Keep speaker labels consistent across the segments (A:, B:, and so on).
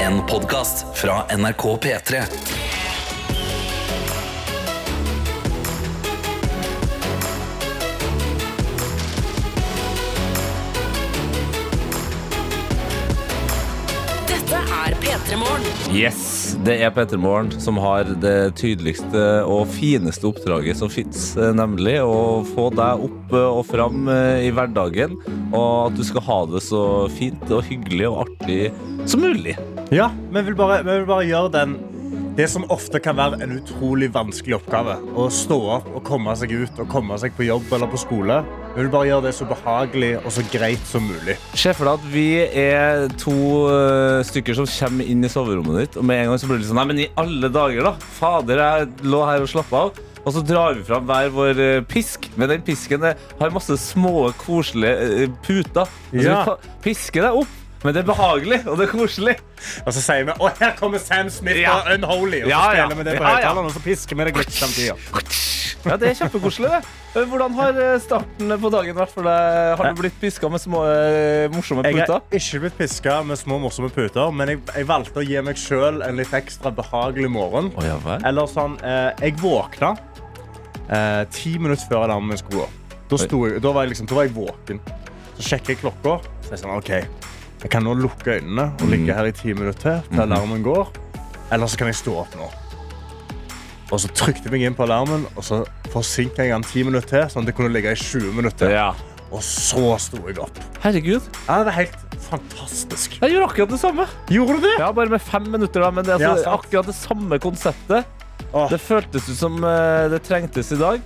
A: En podcast fra NRK P3
B: Dette er P3 Morgen.
C: Yes, det er Petter Morgen som har det tydeligste og fineste oppdraget som fins, nemlig å få deg opp eh, og fram i hverdagen, og at du skal ha det så fint og hyggelig og artig som mulig.
D: Ja, vi vil bare, vi vil bare gjøre den det som ofte kan være en utrolig vanskelig oppgave. Å stå opp og komme seg ut og komme seg på jobb eller på skole. Vi vil bare gjøre det så behagelig og så greit som mulig.
C: Se for deg at vi er to eh, stykker som kommer inn i soverommet ditt, og med en gang så blir det sånn Nei, men i alle dager, da! Fader, jeg lå her og slappa av. Og så drar vi fram hver vår eh, pisk, men den pisken eh, har masse små, koselige eh, puter. Altså,
D: Ja.
C: vi fa- pisker deg opp, men det er behagelig, og det er koselig.
D: Og så sier vi å her kommer Sam Smith
C: Ja.
D: og Unholy. Og så
C: Ja, ja.
D: spiller vi det på
C: Ja, ja.
D: høyttaleren, og så pisker vi det litt samtidig.
C: Ja, det er kjempekoselig, det. Eh, Hvordan har eh, starten på dagen vært for deg? Har du blitt piska med små, eh, morsomme
D: Jeg
C: puter?
D: har ikke blitt piska med små morsomme puter, men jeg, jeg valgte å gi meg sjøl en litt ekstra behagelig morgen.
C: Å, ja vel.
D: Eller sånn eh, Jeg våkna eh, ti minutter før alarmen min skulle gå. Da, sto jeg, da, var jeg liksom, da var jeg våken. Så sjekker jeg klokka. Så er jeg sånn, OK, jeg kan nå lukke øynene og
C: Mhm.
D: ligge her i ti minutter til, til alarmen går. Eller så kan jeg stå opp nå. Og så trykte jeg meg inn på alarmen, og så forsinka jeg den ti minutter til. Sånn at jeg kunne ligge i 20 minutter.
C: Ja.
D: Og så sto jeg opp.
C: Herregud,
D: Ja, det er helt fantastisk.
C: jeg gjorde akkurat det samme.
D: Gjorde du det?
C: Ja, bare med fem minutter, da, men det er
D: Ja,
C: altså
D: sant.
C: akkurat det samme konseptet.
D: Åh.
C: Det føltes ut som eh, det trengtes i dag.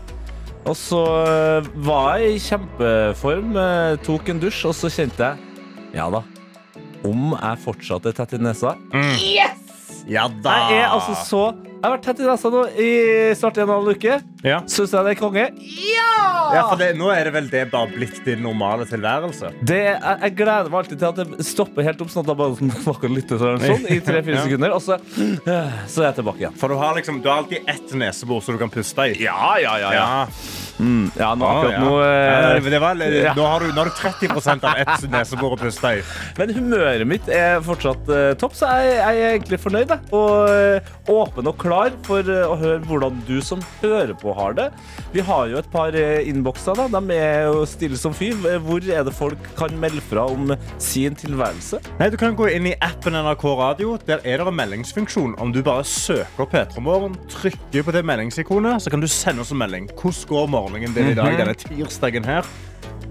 C: Og så eh, var jeg i kjempeform, eh, tok en dusj, og så kjente jeg Ja da, om jeg fortsatt er tett i nesa
D: Ja da.
C: Jeg er altså så Jeg har vært tett i nesa nå i snart en og en halv uke.
D: ja.
C: Syns jeg det er konge.
D: ja,
C: Ah.
D: for det, Nå er det vel det bare blitt din normale tilværelse.
C: Det, jeg, jeg gleder meg alltid til at det stopper helt opp, sånn at jeg bare snakker litt sånn, sånn, i tre-fire
D: Ja.
C: sekunder, og så, eh, så er jeg tilbake igjen.
D: For du har liksom, du har alltid ett nesebor som du kan puste i.
C: Ja, ja, ja. ja.
D: Ja.
C: ja nå,
D: Ah,
C: akkurat
D: ja.
C: nå eh,
D: Ja, det- det var,
C: Ja.
D: nå, har du, nå har du 30 av ett nesebor å puste i.
C: Men humøret mitt er fortsatt eh, topp, så jeg, jeg er egentlig fornøyd. Jeg. Og eh, åpen og klar for eh, å høre hvordan du som hører på, har det. Vi har jo et par eh, innbokser. da. De er jo stille som fyr. Hvor er det folk kan melde fra om sin tilværelse?
D: Nei, Du kan gå inn i appen NRK Radio. Der er det en meldingsfunksjon. Om du bare søker opp P3 Morgen, trykker på det meldingsikonet, så kan du sende oss en melding. Hvordan går morgenen din i dag?
C: Mhm.
D: Denne tirsdagen her.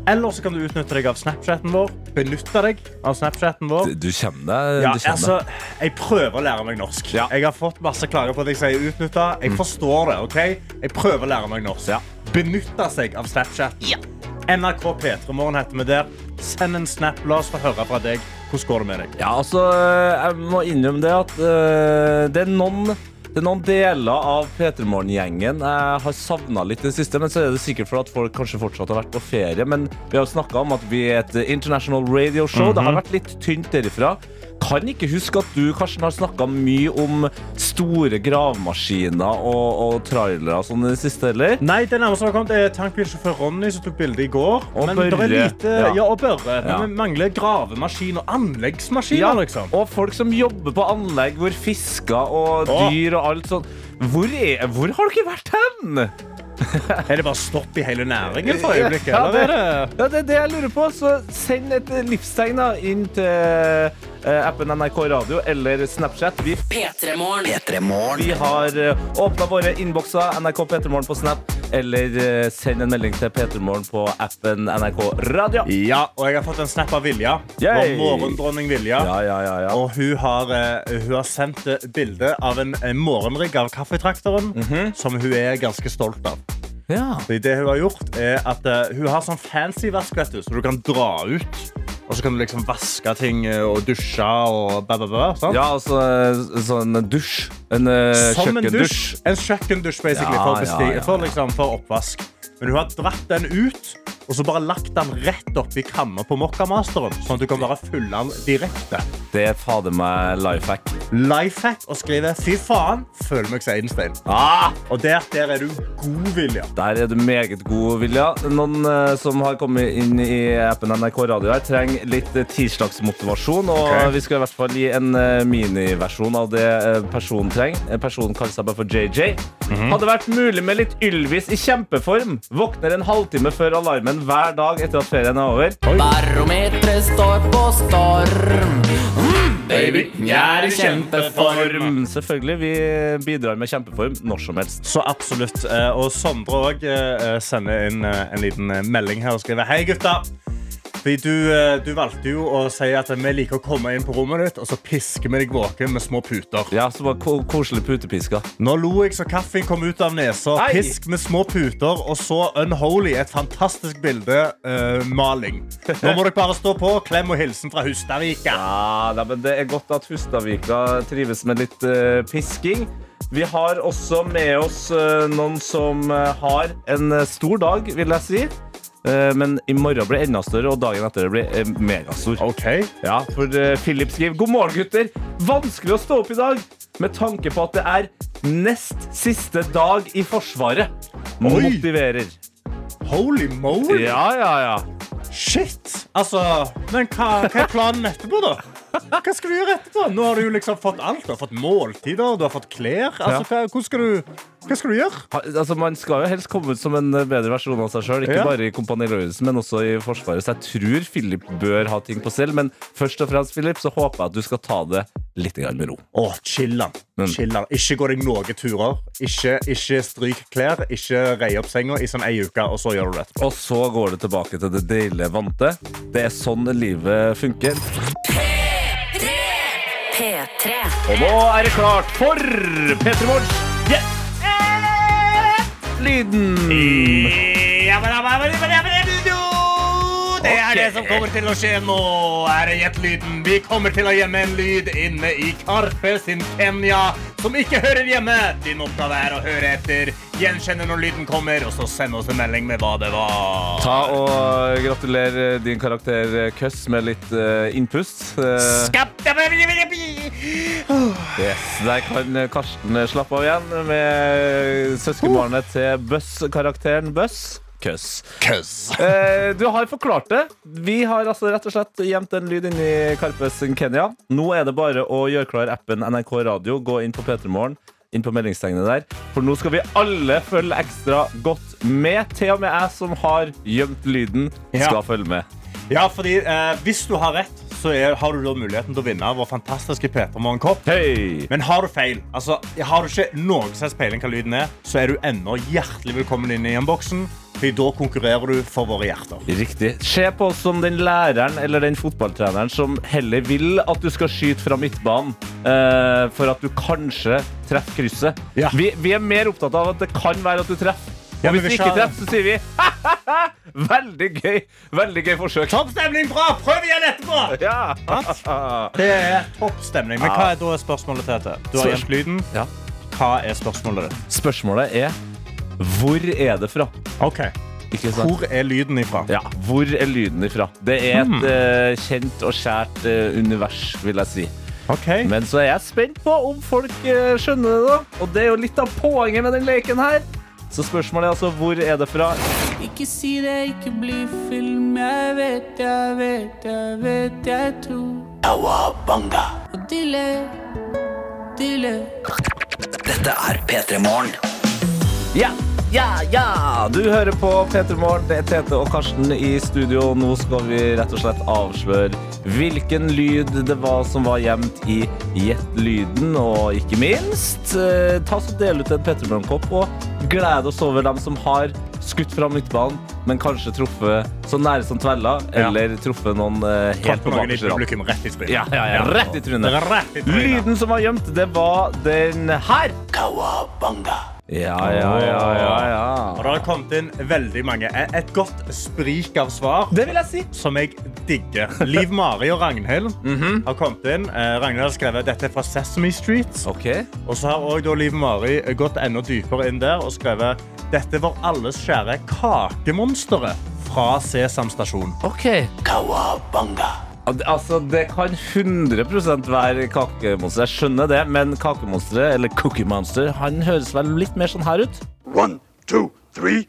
D: Eller så kan du utnytte deg av Snapchaten vår. Benytte deg av Snapchaten vår.
C: Du kjenner deg.
D: Ja, altså, jeg prøver å lære meg norsk.
C: Ja. Mm.
D: Jeg har fått masse klager på at jeg sier utnytta. Jeg forstår det. ok? Jeg prøver å lære meg norsk.
C: Ja.
D: Benytte seg av Snapchat. NRK P3morgen heter vi der. Send en snap. La oss få høre fra deg. Hvordan går det med deg?
C: Ja, altså, jeg må innrømme det at eh, det, er noen, det er noen deler av P3morgen-gjengen jeg har savna litt i det siste. Men så er det sikkert fordi folk kanskje fortsatt har vært på ferie. Men vi har jo snakka om at vi er et international radio show. Det
D: Mhm.
C: har vært litt tynt derifra. Kan ikke huske at du Karsten, har snakka mye om store gravemaskiner og, og trailere og sånn i det siste, eller?
D: Nei, det nærmeste vi har kommet er tankbilsjåfør Ronny som tok bilde i går.
C: Og
D: men det er
C: Børre.
D: lite,
C: Ja.
D: ja. og Børre. Men
C: Ja.
D: vi mangler gravemaskin og anleggsmaskiner. liksom.
C: Og folk som jobber på anlegg hvor fisker og
D: Åh.
C: dyr og alt sånt Hvor, er, hvor har dere vært hen?
D: Er det bare stopp i hele næringen for øyeblikket?
C: Ja,
D: eller er det...
C: Ja, det er det jeg lurer på. Så send et eh, livstegn da, inn til eh, appen NRK Radio eller Snapchat. Vi,
B: P3 Morgen.
A: P3 Morgen
C: vi har åpna våre innbokser NRK P3morgen på Snap. Eller eh, send en melding til P3morgen på appen NRK Radio.
D: Ja, og jeg har fått en snap av Vilja.
C: Yay!
D: Vår morgendronning Vilja.
C: Ja, ja, ja, ja.
D: Og hun har, eh, hun har sendt eh, bilde av en eh, morgenrigg av kaffetraktoren,
C: Mhm.
D: som hun er ganske stolt av.
C: ja.
D: Fordi det hun har gjort, er at eh, hun har sånn fancy vask, vet du, så du kan dra ut. Og så kan du liksom vaske ting eh, og dusje og bæ, bæ, bæ. sant?
C: Ja, altså eh, sånn dusj. En eh,
D: Som en
C: kjøkkendusj.
D: dusj. En kjøkkendusj, basically,
C: Ja,
D: for,
C: ja,
D: besti-
C: ja,
D: For,
C: ja.
D: liksom, for oppvask. Men hun har dratt den ut og så bare lagt den rett oppi kamma på Mokkamasteren. Sånn at du kan bare fylle den direkte.
C: Det er fader meg life hack.
D: Life hack og skrive 'fy faen', føler meg som Einstein.
C: Ah!
D: Og der, der er du god, Vilja.
C: Der er du meget god, Vilja. Noen eh, som har kommet inn i appen NRK Radio her, trenger litt eh, tirsdagsmotivasjon. Og
D: Ok.
C: vi skal i hvert fall gi en eh, miniversjon av det eh, personen trenger. Eh, Personen kaller seg bare for JJ. Hadde vært mulig med litt Ylvis i kjempeform. Våkner en halvtime før alarmen hver dag etter at ferien er over.
B: Barometeret står på storm. baby, jeg er i kjempeform.
C: Mm, Selvfølgelig. Vi bidrar med kjempeform når som helst.
D: Så absolutt. Eh, Og Sondre òg sender inn eh, en liten eh, melding her og skriver Hei, gutta. Fordi du, eh, du valgte jo å si at vi liker å komme inn på rommet ditt, og så pisker vi deg våken med små puter.
C: Ja, så bare ko koselig putepiska.
D: Nå lo jeg så kaffen kom ut av nesa.
C: Nei.
D: Pisk med små puter og så Unholy. Et fantastisk bilde. eh, maling. Nå må dere bare stå på. Klem og hilsen fra Hustadvika.
C: Ja, da, Ah, men Det er godt at Hustadvika trives med litt eh, pisking. Vi har også med oss eh, noen som eh, har en eh, stor dag, vil jeg si. Eh, men i morgen blir enda større, og dagen etter det blir eh, megastor.
D: OK.
C: Ja, for eh, Philip skriver God morgen, gutter. Vanskelig å stå opp i dag med tanke på at det er nest siste dag i Forsvaret.
D: Oi!
C: Motiverer.
D: Holy moly.
C: Ja, ja, ja.
D: Shit! Altså, men hva, hva er planen etterpå, da? Hva skal du gjøre etterpå? Nå har du jo liksom fått alt. Du har fått måltider, du har fått klær. Altså, hva, hvordan skal du, hva skal du gjøre?
C: Ha- Altså, man skal jo helst komme ut som en eh, bedre versjon av seg sjøl. Ikke
D: Ja.
C: bare i Kompani Lauritzen, men også i Forsvaret. Så jeg tror Philip bør ha ting på stell. Men først og fremst Philip, så håper jeg at du skal ta det litt grann med ro.
D: Å, chillan. Chillan. Ikke gå deg noen turer. Ikke, ikke stryk klær. Ikke rei opp senga i sånn ei uke, og så gjør du det etterpå.
C: Og så går det tilbake til det deilige vante. Det er sånn livet funker.
B: P3.
C: Og nå er det klart for P3 Morgens
D: Mm.
C: Lyden.
D: Det er det som kommer til å skje nå, er det gjettlyden. Vi kommer til å gjemme en lyd inne i Karpe sin Kenya, som ikke hører hjemme. Din oppgave er å høre etter, gjenkjenne når lyden kommer, og så sende oss en melding med hva det var.
C: Ta og gratuler eh, din karakter eh, Køss med litt eh, innpust. Eh, Yes, Der kan eh, Karsten slappe av igjen med søskenbarnet til Bøss-karakteren Bøss. Køss.
D: Køss.
C: Eh, du har forklart det. Vi har altså rett og slett gjemt en lyd inni Karpes Kenya. Nå er det bare å gjøre klar appen NRK Radio, gå inn på P3morgen. Inn på meldingstegnet der. For nå skal vi alle følge ekstra godt med. Til og med jeg som har gjemt lyden,
D: Ja.
C: skal følge med.
D: Ja, fordi eh, hvis du har rett, så er, har du da muligheten til å vinne vår fantastiske Petermorgen-kopp.
C: Hei!
D: Men har du feil, altså har du ikke noen slags peiling hva lyden er, så er du ennå hjertelig velkommen inn i innboksen. Fordi da konkurrerer du for våre hjerter.
C: Riktig. Se på oss som den læreren eller den fotballtreneren som heller vil at du skal skyte fra midtbanen eh, for at du kanskje treffer krysset.
D: Ja.
C: Vi, vi er mer opptatt av at det kan være at du treffer. Og
D: Ja, men
C: hvis
D: vi
C: du ikke
D: skal-
C: treffer, så sier vi ha-ha-ha! Veldig gøy! Veldig gøy forsøk.
D: Topp stemning, bra! Prøv igjen etterpå!
C: Ja.
D: Det er topp stemning. Men hva er da spørsmålet til dette? Du har
C: Spørs-
D: gjemt lyden.
C: Ja.
D: Hva er spørsmålet ditt?
C: Spørsmålet er hvor er det fra?
D: Ok,
C: Ikke sant?
D: Hvor er lyden ifra?
C: Ja, hvor er lyden ifra? Det er
D: Hmm.
C: et eh, kjent og kjært eh, univers, vil jeg si.
D: Ok,
C: Men så er jeg spent på om folk eh, skjønner det, da. Og det er jo litt av poenget med den leken her. Så spørsmålet er altså hvor er det fra?
E: Ikke si det, ikke bli film. Jeg vet, jeg vet, jeg vet, jeg tror. Og de ler, de ler.
A: Dette er P3 Morgen.
C: Ja, ja, ja! Du hører på P3 Morgen. Det er Tete og Karsten i studio. Nå skal vi rett og slett avsløre hvilken lyd det var som var gjemt i Gjett lyden. Og ikke minst, eh, ta så del ut en P3 Morgen-kopp og glede oss over dem som har skutt fra midtbanen, men kanskje truffet så nære som tvella,
D: Ja.
C: eller truffet noen eh, helt på
D: noen i
C: bakerste rad.
D: publikum rett i trynet.
C: Ja, ja, ja, rett i trynet.
D: Rett i trynet.
C: Lyden som var gjemt, det var den her. Ja, ja, ja, ja,
D: Og
C: ja.
D: det har kommet inn veldig mange. Et godt sprik av svar.
C: Det vil jeg si.
D: som jeg digger. Liv Mari og Ragnhild har kommet inn. Eh, Ragnhild har skrevet dette er fra Sesame Street.
C: OK.
D: Og så har også da Liv Mari eh, gått enda dypere inn der og skrevet dette var alles kjære kakemonsteret fra Sesam stasjon.
C: ok. Al- Altså, Det kan 100 være kakemonster. Jeg skjønner det, men kakemonsteret, eller Cookie Monster, han høres vel litt mer sånn her ut?
F: One, two, three.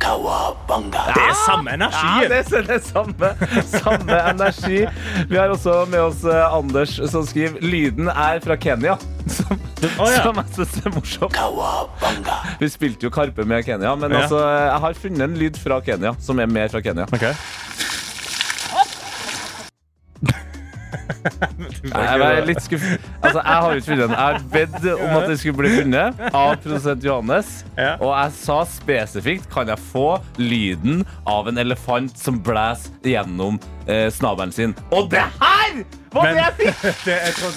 D: Det er samme energien!
C: Ja, det er det er samme, samme energi. Vi har også med oss eh, Anders, som skriver lyden er fra Kenya. Som,
D: ja.
C: som jeg synes er morsomt. Vi spilte jo Karpe med Kenya, men
D: Ja.
C: altså, jeg har funnet en lyd fra Kenya som er mer fra Kenya.
D: Ok.
C: Jeg er litt skuffet. Altså, jeg har jo ikke funnet den. Jeg har bedt om at det skulle bli funnet av produsent Johannes.
D: Ja.
C: Og jeg sa spesifikt kan jeg få lyden av en elefant som blæser gjennom eh, snabelen sin. Og det her var
D: Men-
C: det jeg fikk!
D: Det, jeg tror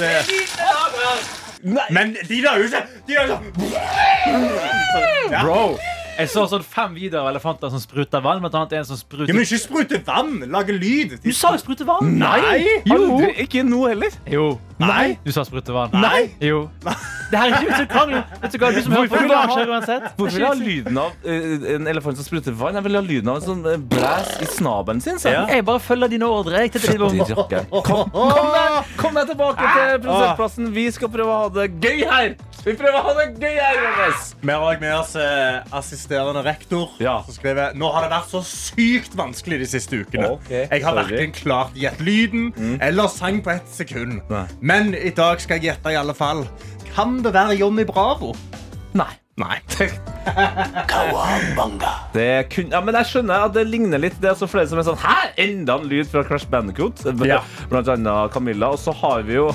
D: det Men de la jo seg de la jo seg- ja.
G: Bro! Jeg så sånn fem videoer av elefanter som spruter vann. Blant annet en som
D: Ja, men
G: spruter
D: ikke sprute vann! Lage lyd! De-
G: Du sa jo sprute vann!
D: Nei!
C: Aldri, ikke nå heller.
G: Jo.
D: Nei!
G: Du sa sprute vann.
D: Nei!
G: Jo. Det her er ikke vits i krangel. Vet du hva, du som hører på,
C: Hvorfor
G: du
C: vil jeg
G: lar
C: ha-
G: seg uansett. Det er
C: Hvorfor vil jeg ha
G: ikke vits i-
C: lyden av eh, en elefant som spruter vann? Jeg vil ha lyden av en som eh, blæser i snabelen sin. sa
D: Ja.
C: jeg.
G: Jeg bare følger dine ordre. Jeg tenkte det var-
C: Fytti rakkeren. Kom, kom, deg, kom deg tilbake til produsentplassen. Vi skal prøve å ha det gøy her. Vi prøver å ha det gøy her, Johannes.
D: Vi har også med oss eh, assisterende rektor,
C: Ja.
D: som skriver Nå har det vært så sykt vanskelig de siste ukene.
C: Ok,
D: jeg har
C: sorry. Mm.
D: verken klart gjett lyden eller sang på ett sekund.
C: Nei.
D: Men i dag skal jeg gjette i alle fall. Kan det være Johnny Bravo?
C: Nei.
D: Nei.
C: Det kun, ja, men jeg skjønner at det ligner litt. Det er også flere som er sånn Hæ? Enda en lyd fra Crash Bandicoot.
D: Ja.
C: Blant annet Camilla. Og så har vi jo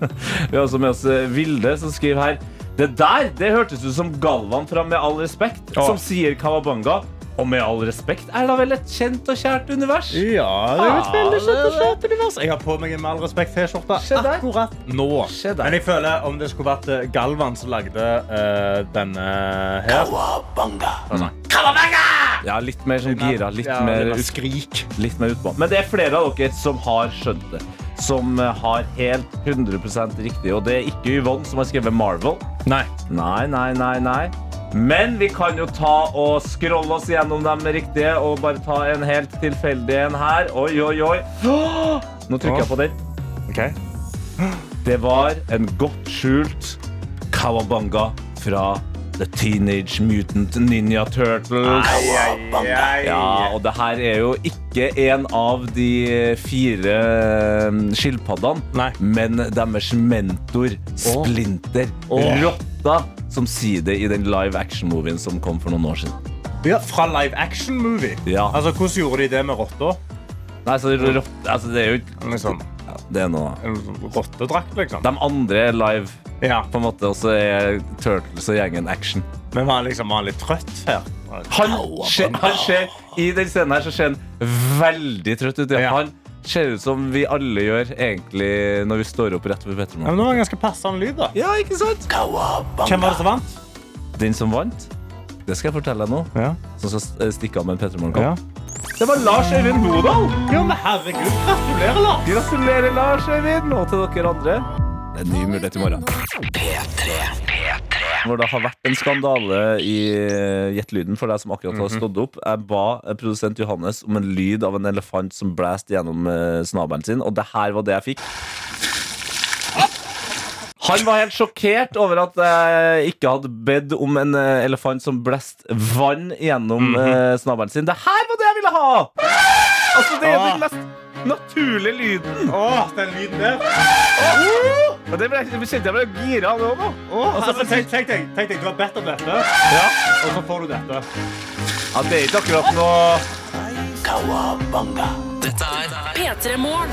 C: Vi har også med oss eh, Vilde, som skriver her Det der det hørtes ut som Galvan fra Med all respekt,
D: Ja.
C: som sier Kawabanga. Og med all respekt er da vel et kjent og kjært univers?
D: Ja, det er jo et veldig
C: Ja, det-
D: kjent og kjent univers. Jeg har på meg en Med all respekt-T-skjorte
C: Se der.
D: akkurat nå.
C: Se der.
D: Men jeg føler om det skulle vært eh, Galvan som lagde eh, denne her
C: Ja, litt mer sånn gira. Litt
D: ja,
C: mer
D: det var
C: ut-
D: skrik.
C: litt mer utpå. Men det er flere av dere som har skjønt det. Som eh, har helt 100 riktig. Og det er ikke Yvonne som har skrevet Marvel.
D: Nei.
C: Nei, nei, nei, nei. Men vi kan jo ta og scrolle oss gjennom de riktige og bare ta en helt tilfeldig en her. Oi, oi, oi. Åh! Nå trykker jeg på den.
D: Ok.
C: Det var en godt skjult Kawabanga fra The Teenage Mutant Ninja Turtles. Ja, og det her er jo ikke en av de fire eh, skilpaddene,
D: Nei.
C: men deres mentor, Splinter,
D: Åh.
C: rotta, som sier det i den live action-movien som kom for noen år siden.
D: Ja, fra live action movie?
C: Ja.
D: Altså, Hvordan gjorde de det med rotta?
C: Nei, så rotta, altså det er jo ikke
D: Liksom,
C: ja, Det er noe
D: en Rottedrakt, liksom?
C: De andre er live,
D: Ja.
C: på en måte, og så er Turtles og gjengen action.
D: Men var han liksom var han litt trøtt her?
C: Han, ser- han ser, I den scenen her så ser han veldig trøtt ut. Ja.
D: Ja.
C: Han ser ut som vi alle gjør egentlig når vi står opp rett ved
D: Ja,
C: Petremorgen.
D: men det var en ganske passende lyd, da.
C: Ja, ikke sant?
D: Hvem var det som vant?
C: Den som vant, det skal jeg fortelle deg nå,
D: Ja.
C: som skal eh, stikke av med en
D: Ja.
C: Petremorgen-kopp. Det var Lars Øyvind Modal!
D: Jo, men herregud, gratulerer, da!
C: Gratulerer, Lars Øyvind, og til dere andre. Det er en ny mulighet i morgen. Hvor det har vært en skandale i eh, Gjett lyden for deg som akkurat har stått opp. Jeg ba eh, produsent Johannes om en lyd av en elefant som blæste gjennom eh, snabelen sin, og det her var det jeg fikk. Han var helt sjokkert over at jeg ikke hadde bedt om en eh, elefant som blæste vann gjennom eh, snabelen sin. Det her var det jeg ville ha! Altså, det er den mest naturlige lyden.
D: Åh, den lyden der.
C: Og det ble, det kjente jeg ble gira av det òg, nå.
D: Åh, altså, tenk, tenk, deg, tenk deg, du har bedt om dette, ja. og så får du dette.
C: Ja, det er ikke akkurat noe
B: Dette er
H: P3 Morgen.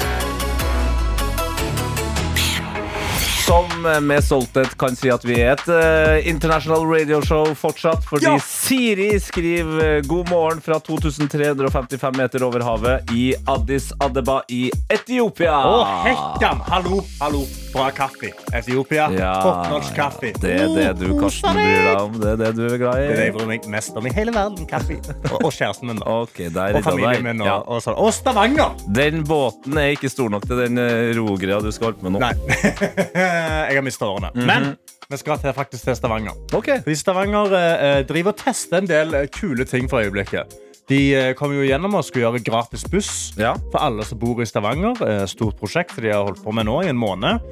C: som eh, med stolthet kan si at vi er et eh, international radioshow fortsatt. Fordi
D: Ja!
C: Siri skriver eh, 'God morgen' fra 2355 meter over havet i Addis Adeba i Etiopia.
D: Å, hekkan! Hallo, hallo. Bra kaffe. Etiopia.
C: Ja,
D: Toppnorsk kaffe.
C: Det er det du, Karsten, bryr deg om. Det er det du er
D: Det er det
C: glad i.
D: jeg bryr meg mest om i hele verden. Kaffe. Og, og kjæresten min, da.
C: Ok, der er
D: Og
C: det
D: familien
C: der.
D: min. Og,
C: Ja.
D: og, sånn. og Stavanger!
C: Den båten er ikke stor nok til den eh, rogreia du skal holde på med nå.
D: Nei, Eh, jeg har mista årene.
C: Mhm.
D: Men vi skal til, faktisk til Stavanger.
C: Ok,
D: Fordi Stavanger eh, eh, driver og tester en del eh, kule ting for øyeblikket. De eh, kom jo gjennom og skulle gjøre gratis buss
C: Ja.
D: for alle som bor i Stavanger. Eh, stort prosjekt de har holdt på med nå i en måned.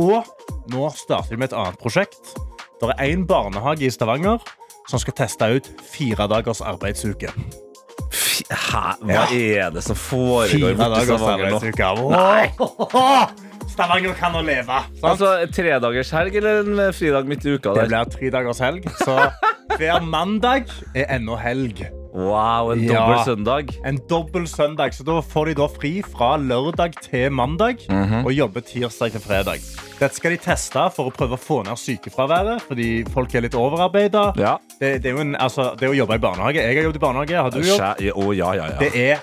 D: Og nå starter de med et annet prosjekt. Det er én barnehage i Stavanger som skal teste ut fire dagers arbeidsuke.
C: Fy- Hæ? Hva er det som
D: Fire
C: foregår borti
D: dagers
C: Stavanger nå?
D: arbeidsuke. Åh! Stavanger kan nå leve. sant?
C: Altså, Tredagers helg eller en eh, fridag midt i uka?
D: Det
C: Der?
D: blir tre dagers helg, så hver mandag er ennå helg.
C: Wow, en
D: Ja.
C: dobbel søndag.
D: En dobbel søndag, så da får de da fri fra lørdag til mandag
C: Mhm.
D: og jobber tirsdag til fredag. Dette skal de teste for å prøve å få ned sykefraværet, fordi folk er litt overarbeida.
C: Ja.
D: Det, det, er jo en, altså, det å jobbe i barnehage Jeg har jobbet i barnehage. Har du jobb?
C: Skjæ- Å, ja, ja, ja.
D: Det er,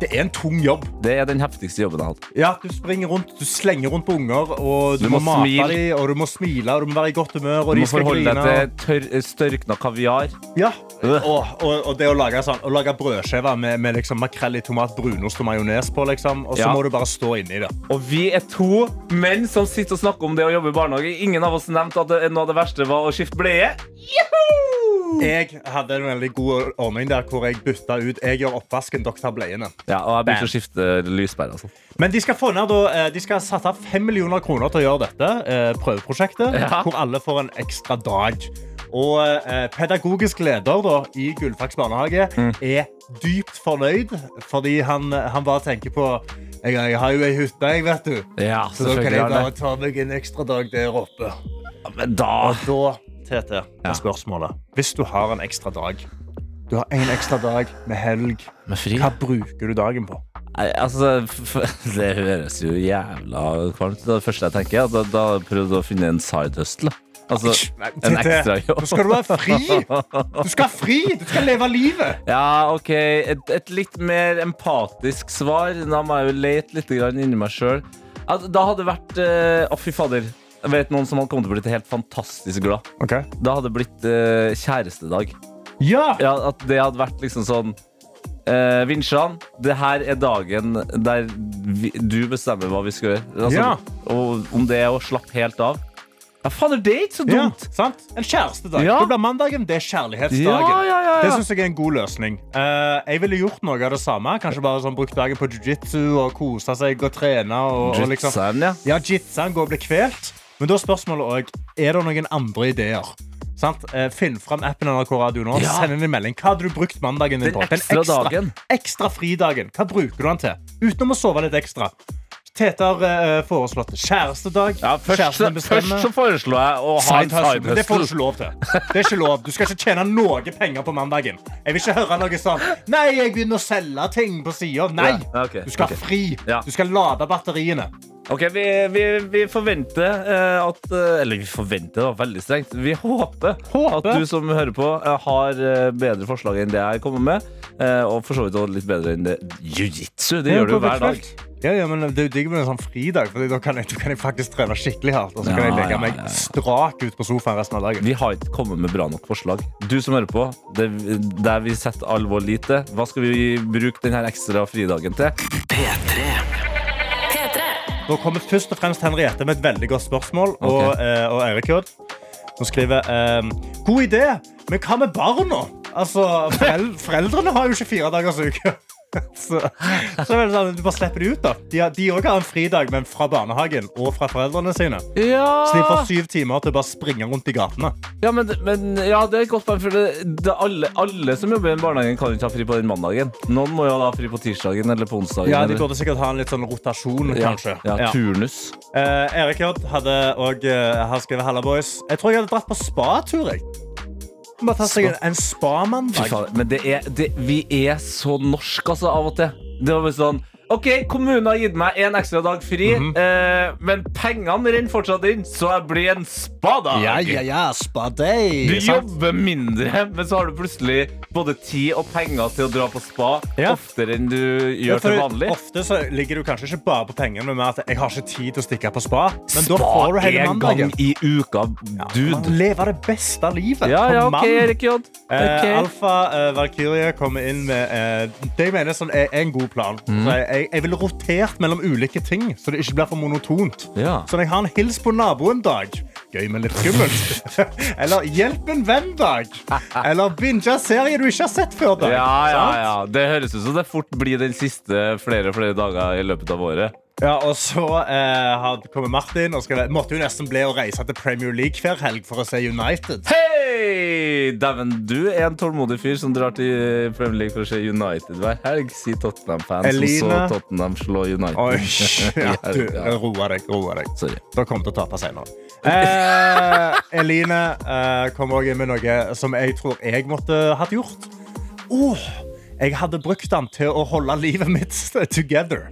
D: det er en tung jobb.
C: Det er den heftigste jobben jeg har hatt.
D: Ja, Du springer rundt, du slenger rundt på unger, og du,
C: Du
D: må,
C: må
D: mate
C: smile.
D: dem, og du må smile, og du må være i godt humør,
C: Du
D: og de
C: må
D: skal
C: forholde
D: grine.
C: deg til tørr, eh, størkna kaviar.
D: Ja, og, og, og det å lage, sånn, å lage brødskiver med, med liksom makrell i tomat, brunost og majones på, liksom. Og så
C: Ja.
D: må du bare stå inni det.
C: Og vi er to menn som sitter og snakker om det å jobbe i barnehage. Ingen av oss nevnte at det, noe av det verste var å skifte bleie.
D: Jeg hadde en veldig god ordning der hvor jeg bytta ut Jeg gjør oppvasken, dere tar bleiene.
C: Ja, og jeg begynte å skifte lyspære. Altså.
D: Men de skal, få ned, da, eh, de skal sette av 5 millioner kroner til å gjøre dette eh, prøveprosjektet,
C: Ja.
D: hvor alle får en ekstra dag. Og eh, pedagogisk leder da, i Gullfaks barnehage
C: Mm.
D: er dypt fornøyd, fordi han, han bare tenker på jeg, jeg har jo ei hytte, jeg, vet du.
C: Ja,
D: Så da kan
C: selvfølgelig
D: jeg
C: har
D: bare
C: det.
D: ta meg en ekstra dag der oppe.
C: Men da
D: Da, TT, er spørsmålet. Hvis du har en ekstra dag, du har en ekstra dag med helg,
B: Med fri.
D: hva bruker du dagen på?
C: Nei, altså, f f- det høres jo jævla kvalmt ut. Det første jeg tenker, er at da, da har jeg prøvd å finne en side hustle. Altså, en
D: TT,
C: ekstra jobb.
D: Nå skal du være fri! Du skal ha fri! Du skal leve livet!
C: Ja, OK. Et, et litt mer empatisk svar. Da må jeg jo lete litt grann inni meg sjøl. Da hadde det vært eh, Å, fy fader. Jeg vet noen som hadde kommet til å bli helt fantastisk glad. Da hadde det blitt eh, kjærestedag.
D: Ja!
C: Ja, at det hadde vært liksom sånn eh, Vinsjan, det her er dagen der vi, du bestemmer hva vi skal gjøre. Altså,
D: Ja.
C: Og om det er å slappe helt av. Ja, fader, det er ikke så
D: Ja,
C: dumt!
D: sant? En kjærestedag.
C: Ja.
D: Da blir mandagen det er kjærlighetsdagen.
C: Ja, ja, ja, ja.
D: Det syns jeg er en god løsning. Eh, jeg ville gjort noe av det samme. Kanskje bare sånn, brukt dagen på jiu-jitsu og kosa seg og trene. Og, og liksom,
C: Jitseren, ja.
D: Ja, jitsaen går og blir kvelt. Men da er spørsmålet også, er det noen andre ideer. Sant? Eh, Finn fram appen NRK Radio nå.
C: Ja.
D: Send inn en melding. Hva hadde du brukt mandagen din
C: Den
D: på?
C: ekstra dagen.
D: ekstra fridagen. Hva bruker du den til? Utenom å sove litt ekstra. Tete har eh, foreslått kjærestedag.
C: ja først, så-
D: Kjæresten
C: først
D: bestemmer.
C: så foreslo jeg å ha en
D: Side hustle. Men Det får
C: sidehustle.
D: du ikke lov til. Det er ikke lov. Du skal ikke tjene noe penger på mandagen. Jeg vil ikke høre noe sånn Nei, jeg begynner å selge ting på sida. Nei!
C: Ja, ok,
D: Du skal
C: ok.
D: ha fri.
C: Ja.
D: Du skal lade batteriene.
C: Ok, vi, vi, vi forventer eh, at eh, Eller vi forventer, det var veldig strengt. Vi håper,
D: Håper.
C: at du som hører på, eh, har eh, bedre forslag enn det jeg kommer med. eh, og for så vidt også litt bedre enn det jiu-jitsu. Det gjør du jo hver dag.
D: Ja, ja, men Det er jo digg med en sånn fridag, for da kan jeg, da kan jeg faktisk trene skikkelig hardt. Og så kan
C: Ja,
D: jeg legge
C: ja,
D: meg
C: ja, ja.
D: strak ut på sofaen resten av dagen.
C: Vi har ikke kommet med bra nok forslag. Du som hører på, det, der vi setter all vår lit til, hva skal vi bruke denne ekstra fridagen til?
A: P3
B: P3.
D: Nå kommer først og fremst Henriette med et veldig godt spørsmål, og, eh, og Eirik Jørd. Hun skriver eh, God idé, men hva med barna? Altså, forel Foreldrene har jo ikke fire dagers uke. Så, så er det sånn, du bare slipper de ut, da. De har- de òg har en fridag, men fra barnehagen og fra foreldrene sine. Så de
C: Ja,
D: får syv timer til å bare springe rundt i gatene.
C: ja, men, men ja, det er et godt poeng, for det, det, alle, alle som jobber i den barnehagen, kan jo ikke ha fri på den mandagen. Noen må jo da ha fri på tirsdagen eller på onsdagen.
D: Ja, De
C: eller-
D: burde sikkert ha en litt sånn rotasjon,
C: ja,
D: kanskje.
C: ja,
D: Ja.
C: turnus.
D: Eh, Erik J. hadde òg uh, skrevet Halla Boys. Jeg tror jeg hadde dratt på spatur. jeg. Bare tatt seg en, en
C: Fy
D: spamandag.
C: faen, men det er, det, vi er så norsk altså, av og til. Det var bare sånn Å, OK, kommunen har gitt meg en ekstra dag fri,
D: Mhm.
C: eh, men pengene renner fortsatt inn, så jeg blir en spadag.
H: ja, spadei.
C: Du jobber mindre, men så har du plutselig både tid og penger til å dra på spa
D: Ja.
C: oftere enn du gjør til vanlig.
D: Ofte så ligger du kanskje ikke bare på pengene, men mer at jeg har ikke tid til å stikke på spa. Men da
C: Spa
D: får du hele
C: en gang
D: mandagen.
C: i uka,
D: Man
C: dude.
D: lever det beste livet.
C: Ja, ja,
D: for
C: OK,
D: mann.
C: Erik J.
D: Eh,
C: Ok.
D: Alfa eh, Valkyrie kommer inn med eh, det jeg mener sånn er en god plan.
C: Mhm.
D: Så jeg, jeg, jeg vil rotert mellom ulike ting, så det ikke blir for monotont.
C: Ja.
D: Så når jeg har en hils på naboen dag Gøy, men litt skummelt. eller hjelp en venn-dag. Eller binge serie du ikke har sett før. dag
C: Ja, ja,
D: Sant?
C: ja. Det høres ut som det fort blir den siste flere og flere dager i løpet av året.
D: Ja, og så eh, har- kommer Martin og skal, måtte jo nesten bli å reise til Premier League hver helg for å se United.
C: Hei! Dæven, du er en tålmodig fyr som drar til Premier League for å se United hver helg. Si Tottenham-fans som så
D: Eline.
C: Tottenham slå United.
D: Oi, ja, du,
C: Ja.
D: roa deg, roa deg.
C: Sorry.
D: Da kommer til å tape senere. Eh, Eline eh, kom også inn med noe som jeg tror jeg måtte hatt gjort. Åh, jeg hadde brukt den til å holde livet mitt together.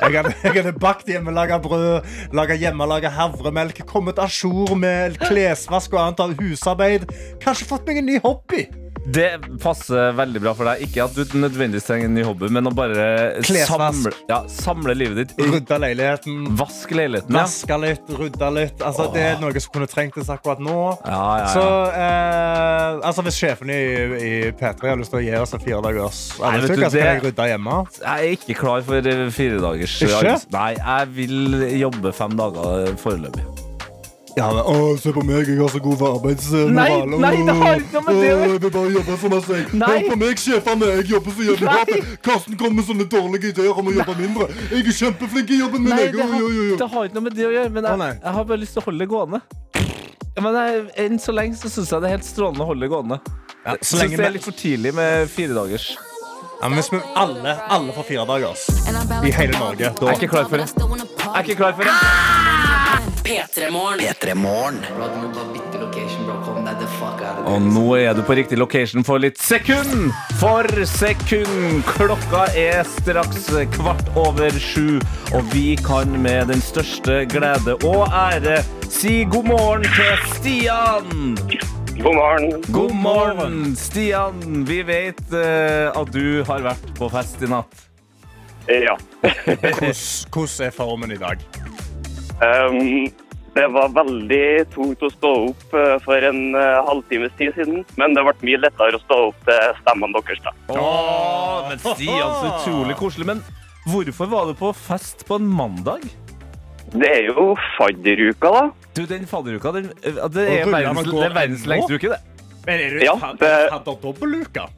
D: Jeg hadde, jeg hadde bakt hjemmelaga brød, laga hjemmelaga havremelk, kommet à jour med klesvask og annet av husarbeid. Kanskje fått meg en ny hobby.
C: Det passer veldig bra for deg. Ikke at du nødvendigvis trenger en ny hobby, men å bare
D: Klesvask.
C: samle, ja, samle livet ditt.
D: Rydda leiligheten.
C: Vask leiligheten. ja.
D: Vaska litt, rydda litt. Altså, det er noe som kunne trengtes akkurat nå.
C: Ja, ja, ja.
D: Så eh, altså, hvis sjefen i, i P3 har lyst til å gi oss en fire dagers
C: Nei, vet du,
D: arbeidsuke, så kan jeg
C: det-
D: rydde hjemme.
C: Jeg er ikke klar for eh, fire dagers
D: Ikke?
C: arbeids- Nei, jeg vil jobbe fem dager foreløpig.
D: Ja, men, å, se på meg, jeg har så god arbeidsmoral.
C: Nei, nei, det har ikke noe med det å gjøre.
D: Å, Jeg vil bare jobbe for meg selv.
C: Nei.
D: Hør på meg, sjefene. Jeg jobber så jævlig
C: Nei.
D: hardt. Karsten kommer med sånne dårlige ideer om å jobbe mindre. Jeg er kjempeflink i jobben min.
C: Nei,
D: jeg.
C: det
D: Jo,
C: har,
D: jo, jo, jo.
C: det har ikke noe med det å gjøre, men
D: Å, nei.
C: jeg, jeg har bare lyst til å holde det gående. Ja, Men jeg, enn så lenge så syns jeg det er helt strålende å holde det gående.
D: Ja,
C: Jeg
D: så
C: synes
D: lenge
C: det
D: vi-
C: er litt for tidlig med fire dagers.
D: Ja, men hvis vi alle, alle får fire dagers i hele Norge,
C: Jeg
D: da
C: er ikke klar for det. Jeg er ikke klar for det.
A: P3 Morgen.
C: Og nå er du på riktig location for litt sekund for sekund. Klokka er straks kvart over sju, og vi kan med den største glede og ære si god morgen til Stian.
I: God morgen.
C: God morgen, Stian. Vi vet eh, at du har vært på fest i natt.
I: Ja.
D: Hvordan er formen i dag?
I: Ehm, det var veldig tungt å stå opp eh, for en eh, halvtimes tid siden, men det ble mye lettere å stå opp til stemmen deres. da.
C: Åh, men Stian, så utrolig koselig. Men hvorfor var du på fest på en mandag?
I: Det er jo fadderuka, da.
C: Du, den fadderuka, den, eh, det er
D: ruller man
C: verdens,
D: går
C: det er verdens
D: ennå?
C: lengste uke, det.
D: Men er du
I: Ja,
D: had-
I: det-
D: hadde dobbeltuke?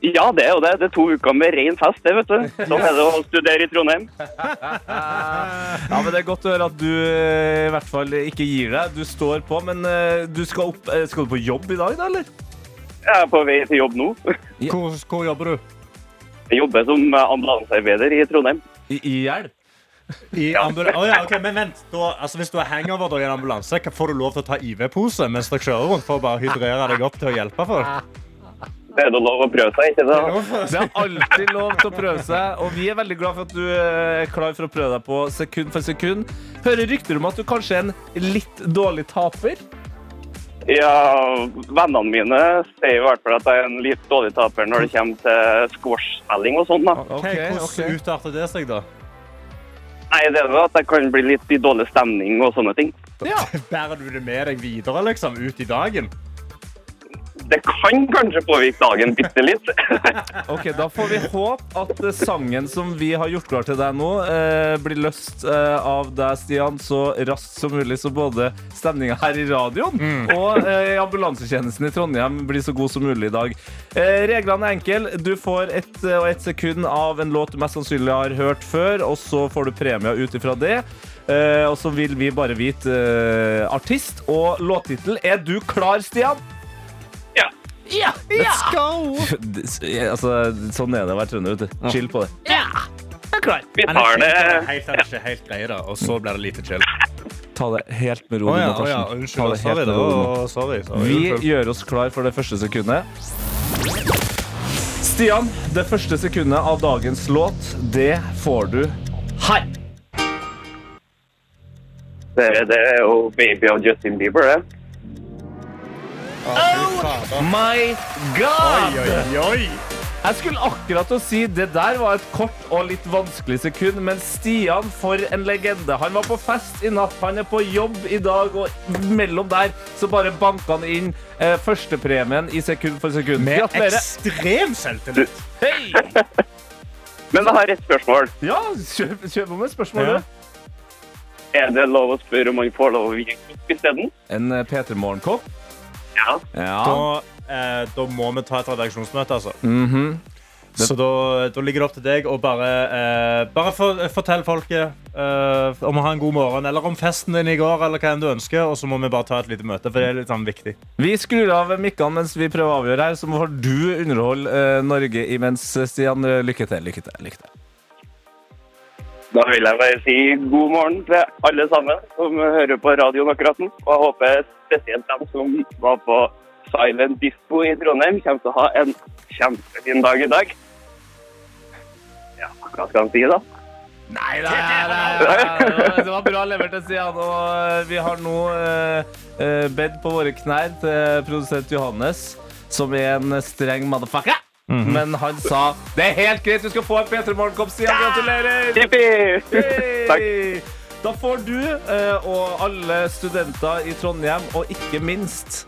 I: Ja, det er jo det. Det er to uker med ren fest, det, vet du. Sånn er det å studere i Trondheim.
C: Ja, men Det er godt å høre at du eh, i hvert fall ikke gir deg. Du står på, men eh, du skal, opp, eh, skal du på jobb i dag, da, eller?
I: Jeg er på vei til jobb nå.
D: Hvor, hvor jobber du?
I: Jeg jobber som eh, ambulansearbeider i Trondheim.
C: I, i hjelp?
D: I ambul Å ja, ok, men vent. Da, altså, hvis du har hangover da, i en ambulanse, hva- får du lov til å ta IV-pose mens dere kjører rundt for å bare hydrere deg opp til å hjelpe folk?
I: Det er da lov å prøve seg, ikke sant?
C: Det er alltid lov til å prøve seg, og vi er veldig glad for at du eh, er klar for å prøve deg på sekund for sekund. Hører rykter om at du kanskje er en litt dårlig taper.
I: Ja, vennene mine sier i hvert fall at jeg er en litt dårlig taper når det kommer til squash-spilling og sånn, da.
D: Ok, Hvordan
C: ok.
D: utarter det seg, da?
I: Nei, det er jo at jeg kan bli litt i dårlig stemning og sånne ting.
D: Bærer du det med deg videre liksom, ut i dagen?
I: Det kan kanskje påvirke dagen bitte litt.
C: Ok, Da får vi håpe at eh, sangen som vi har gjort klar til deg nå, eh, blir løst eh, av deg, Stian, så raskt som mulig, så både stemninga her i radioen og eh, i ambulansetjenesten i Trondheim blir så god som mulig i dag. Eh, reglene er enkle. Du får ett eh, og ett sekund av en låt du mest sannsynlig har hørt før, og så får du premie ut ifra det. Eh, og så vil vi bare vite eh, artist og låttittel. Er du klar, Stian?
I: Ja.
C: Ja! Let's go! altså, sånn er det å være trønder. vet du. Chill på det.
I: Vi tar det
D: Helt, er det ikke helt greie, da. Og så blir det lite chill.
C: Ta det helt med ro.
D: Å ja,
C: Natasjen.
D: å ja,
C: Ta
D: unnskyld.
C: det helt
D: Sorry,
C: med ro.
D: da. Sorry, sorry.
C: Vi gjør oss klar for det første sekundet. Stian, det første sekundet av dagens låt, det får du her.
I: Det, det er jo baby av Justin Bieber, det.
C: My God!
D: Oi, oi.
C: Jeg skulle akkurat til å si det der var et kort og litt vanskelig sekund, men Stian, for en legende. Han var på fest i natt, han er på jobb i dag, og mellom der så bare banka han inn eh, førstepremien i sekund for sekund.
D: Med
C: Gratulerer.
D: ekstrem selvtillit.
C: Hei!
I: Men jeg har et spørsmål.
C: Ja, kjør, kjør på med spørsmålet.
I: Er det lov å spørre om man får lov å vinne kopp isteden?
C: En eh, P3 Morgenkopp.
I: Ja.
C: Ja.
D: Da, eh, da må vi ta et redaksjonsmøte, altså.
G: Mhm.
D: Så da, da ligger det opp til deg å bare, eh, bare for, fortell folket eh, om å ha en god morgen, eller om festen din i går, eller hva enn du ønsker, og så må vi bare ta et lite møte, for det er litt sånn viktig.
C: Vi skrur av mikkene mens vi prøver å avgjøre her, så får du underholde eh, Norge imens, Stian. Eh, Lykke til. Lykke til. lykke til.
I: Da vil jeg bare si god morgen til alle sammen som hører på radioen akkurat nå. Og jeg håper spesielt dem som var på Silent Disco i Trondheim, kommer til å ha en kjempefin dag i dag. Ja, hva skal man si, da?
C: Nei, nei, nei, nei. Det var bra levert, Stian. Og eh, vi har nå eh, eh, bedt på våre knær til produsent Johannes, som er en streng motherfucker. Men han sa det er helt greit, du skal få en P3 Morgenkopp, Stian. Gratulerer!
I: Jippi! Takk.
C: Hei! Da får du eh, og alle studenter i Trondheim, og ikke minst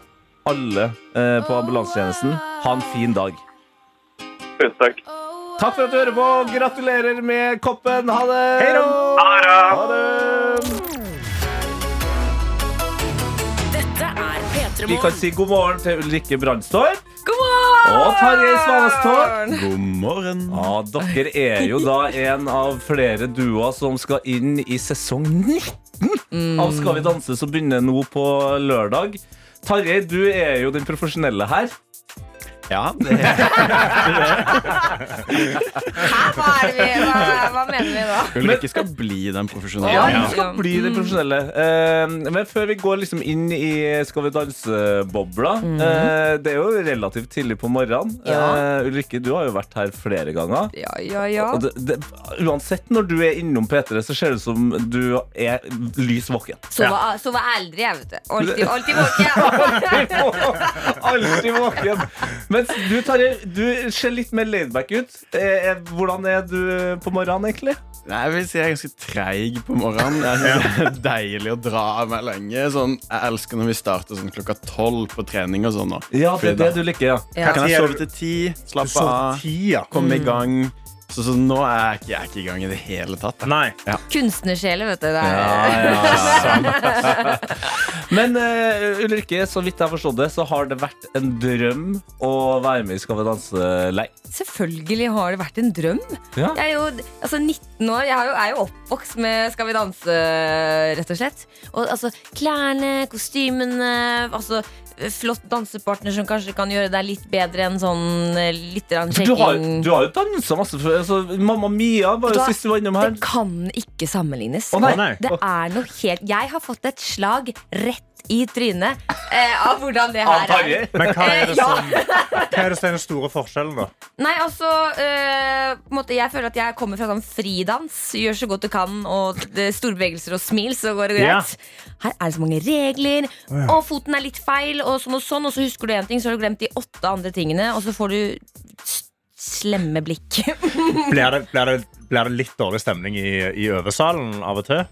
C: alle eh, på ambulansetjenesten, ha en fin dag.
I: Tusen takk.
C: Takk for at du hører på. Gratulerer med koppen. Ha det!
I: Ha det bra.
C: Ha det!
B: Dette er P3
C: Vi kan
B: Morgen.
C: si god morgen til Ulrikke Brandstorp
J: God morgen!
C: og Tarjei Svanestorp. Ja, dere er jo da en av flere duoer som skal inn i sesong 19 av Skal vi danse, som begynner nå på lørdag. Tarjei, du er jo den profesjonelle her.
G: Ja, det er
J: Hæ? Hva, er det vi, hva, hva mener vi nå?
G: Ulrikke skal bli den profesjonelle.
C: Ja,
J: Ja. Mm.
C: du skal bli den profesjonelle. Eh, men før vi går liksom inn i Skal vi danse-bobla eh, Det er jo relativt tidlig på morgenen.
J: Mhm. Ja.
C: Eh, Ulrikke, du har jo vært her flere ganger.
J: Ja, ja, ja.
C: Og det, det, uansett når du er innom P3, så ser det ut som du er lys våken.
J: Sove, sove aldri, jeg, vet du. Alltid, alltid våken.
C: Alltid våken. Mens du, Tarjei, du ser litt mer laidback ut. Eh, eh, hvordan er du på morgenen, egentlig?
K: Nei, jeg vil si jeg er ganske treig på morgenen. Jeg synes Det er deilig å dra av meg lenge. Sånn, jeg elsker når vi starter sånn klokka tolv på trening og sånn. nå.
C: Ja, det
K: Fordi
C: er
K: da
C: det du liker, ja.
J: Ja.
K: Kan jeg
D: Hva tid er
K: sove til ti,
D: Du
K: slappe
D: så
K: av,
D: tida.
K: komme i gang. Så, så nå er jeg, ikke, jeg er ikke i gang i det hele tatt. da.
D: Nei.
J: Kunstnersjeler, vet du. Det er.
C: Men eh, Ulrikke, så vidt jeg har forstått det, så har det vært en drøm å være med i Skal vi danse lei.
J: Selvfølgelig har det vært en drøm.
C: Ja.
J: Jeg er jo altså 19 år, jeg har jo, er jo oppvokst med Skal vi danse, rett og slett. Og altså klærne, kostymene, altså flott dansepartner som kanskje kan gjøre deg litt bedre enn sånn eh, litt grann
C: For Du har,
J: sjekking.
C: du har jo dansa masse før. Altså, Mamma Mia var jo
J: Da-
C: sist du var innom her.
J: Det kan ikke sammenlignes.
C: Å, nei.
D: Å, nei.
J: Det er noe helt Jeg har fått et slag rett i trynet eh, av hvordan det her er.
C: Tarjei.
D: Men hva er
J: Eh,
D: det
J: ja.
D: som hva er det som er den store forskjellen, da?
J: Nei, altså eh, på en måte, Jeg føler at jeg kommer fra sånn fridans. Gjør så godt du kan, og det er store bevegelser og smil, så går det
D: Ja.
J: greit. Her er det så mange regler, og foten er litt feil, og sånn og sånn, og så husker du én ting, så har du glemt de åtte andre tingene, og så får du s- slemme blikk.
D: Blir det, blir det, blir det litt dårlig stemning i, i øvesalen av og til?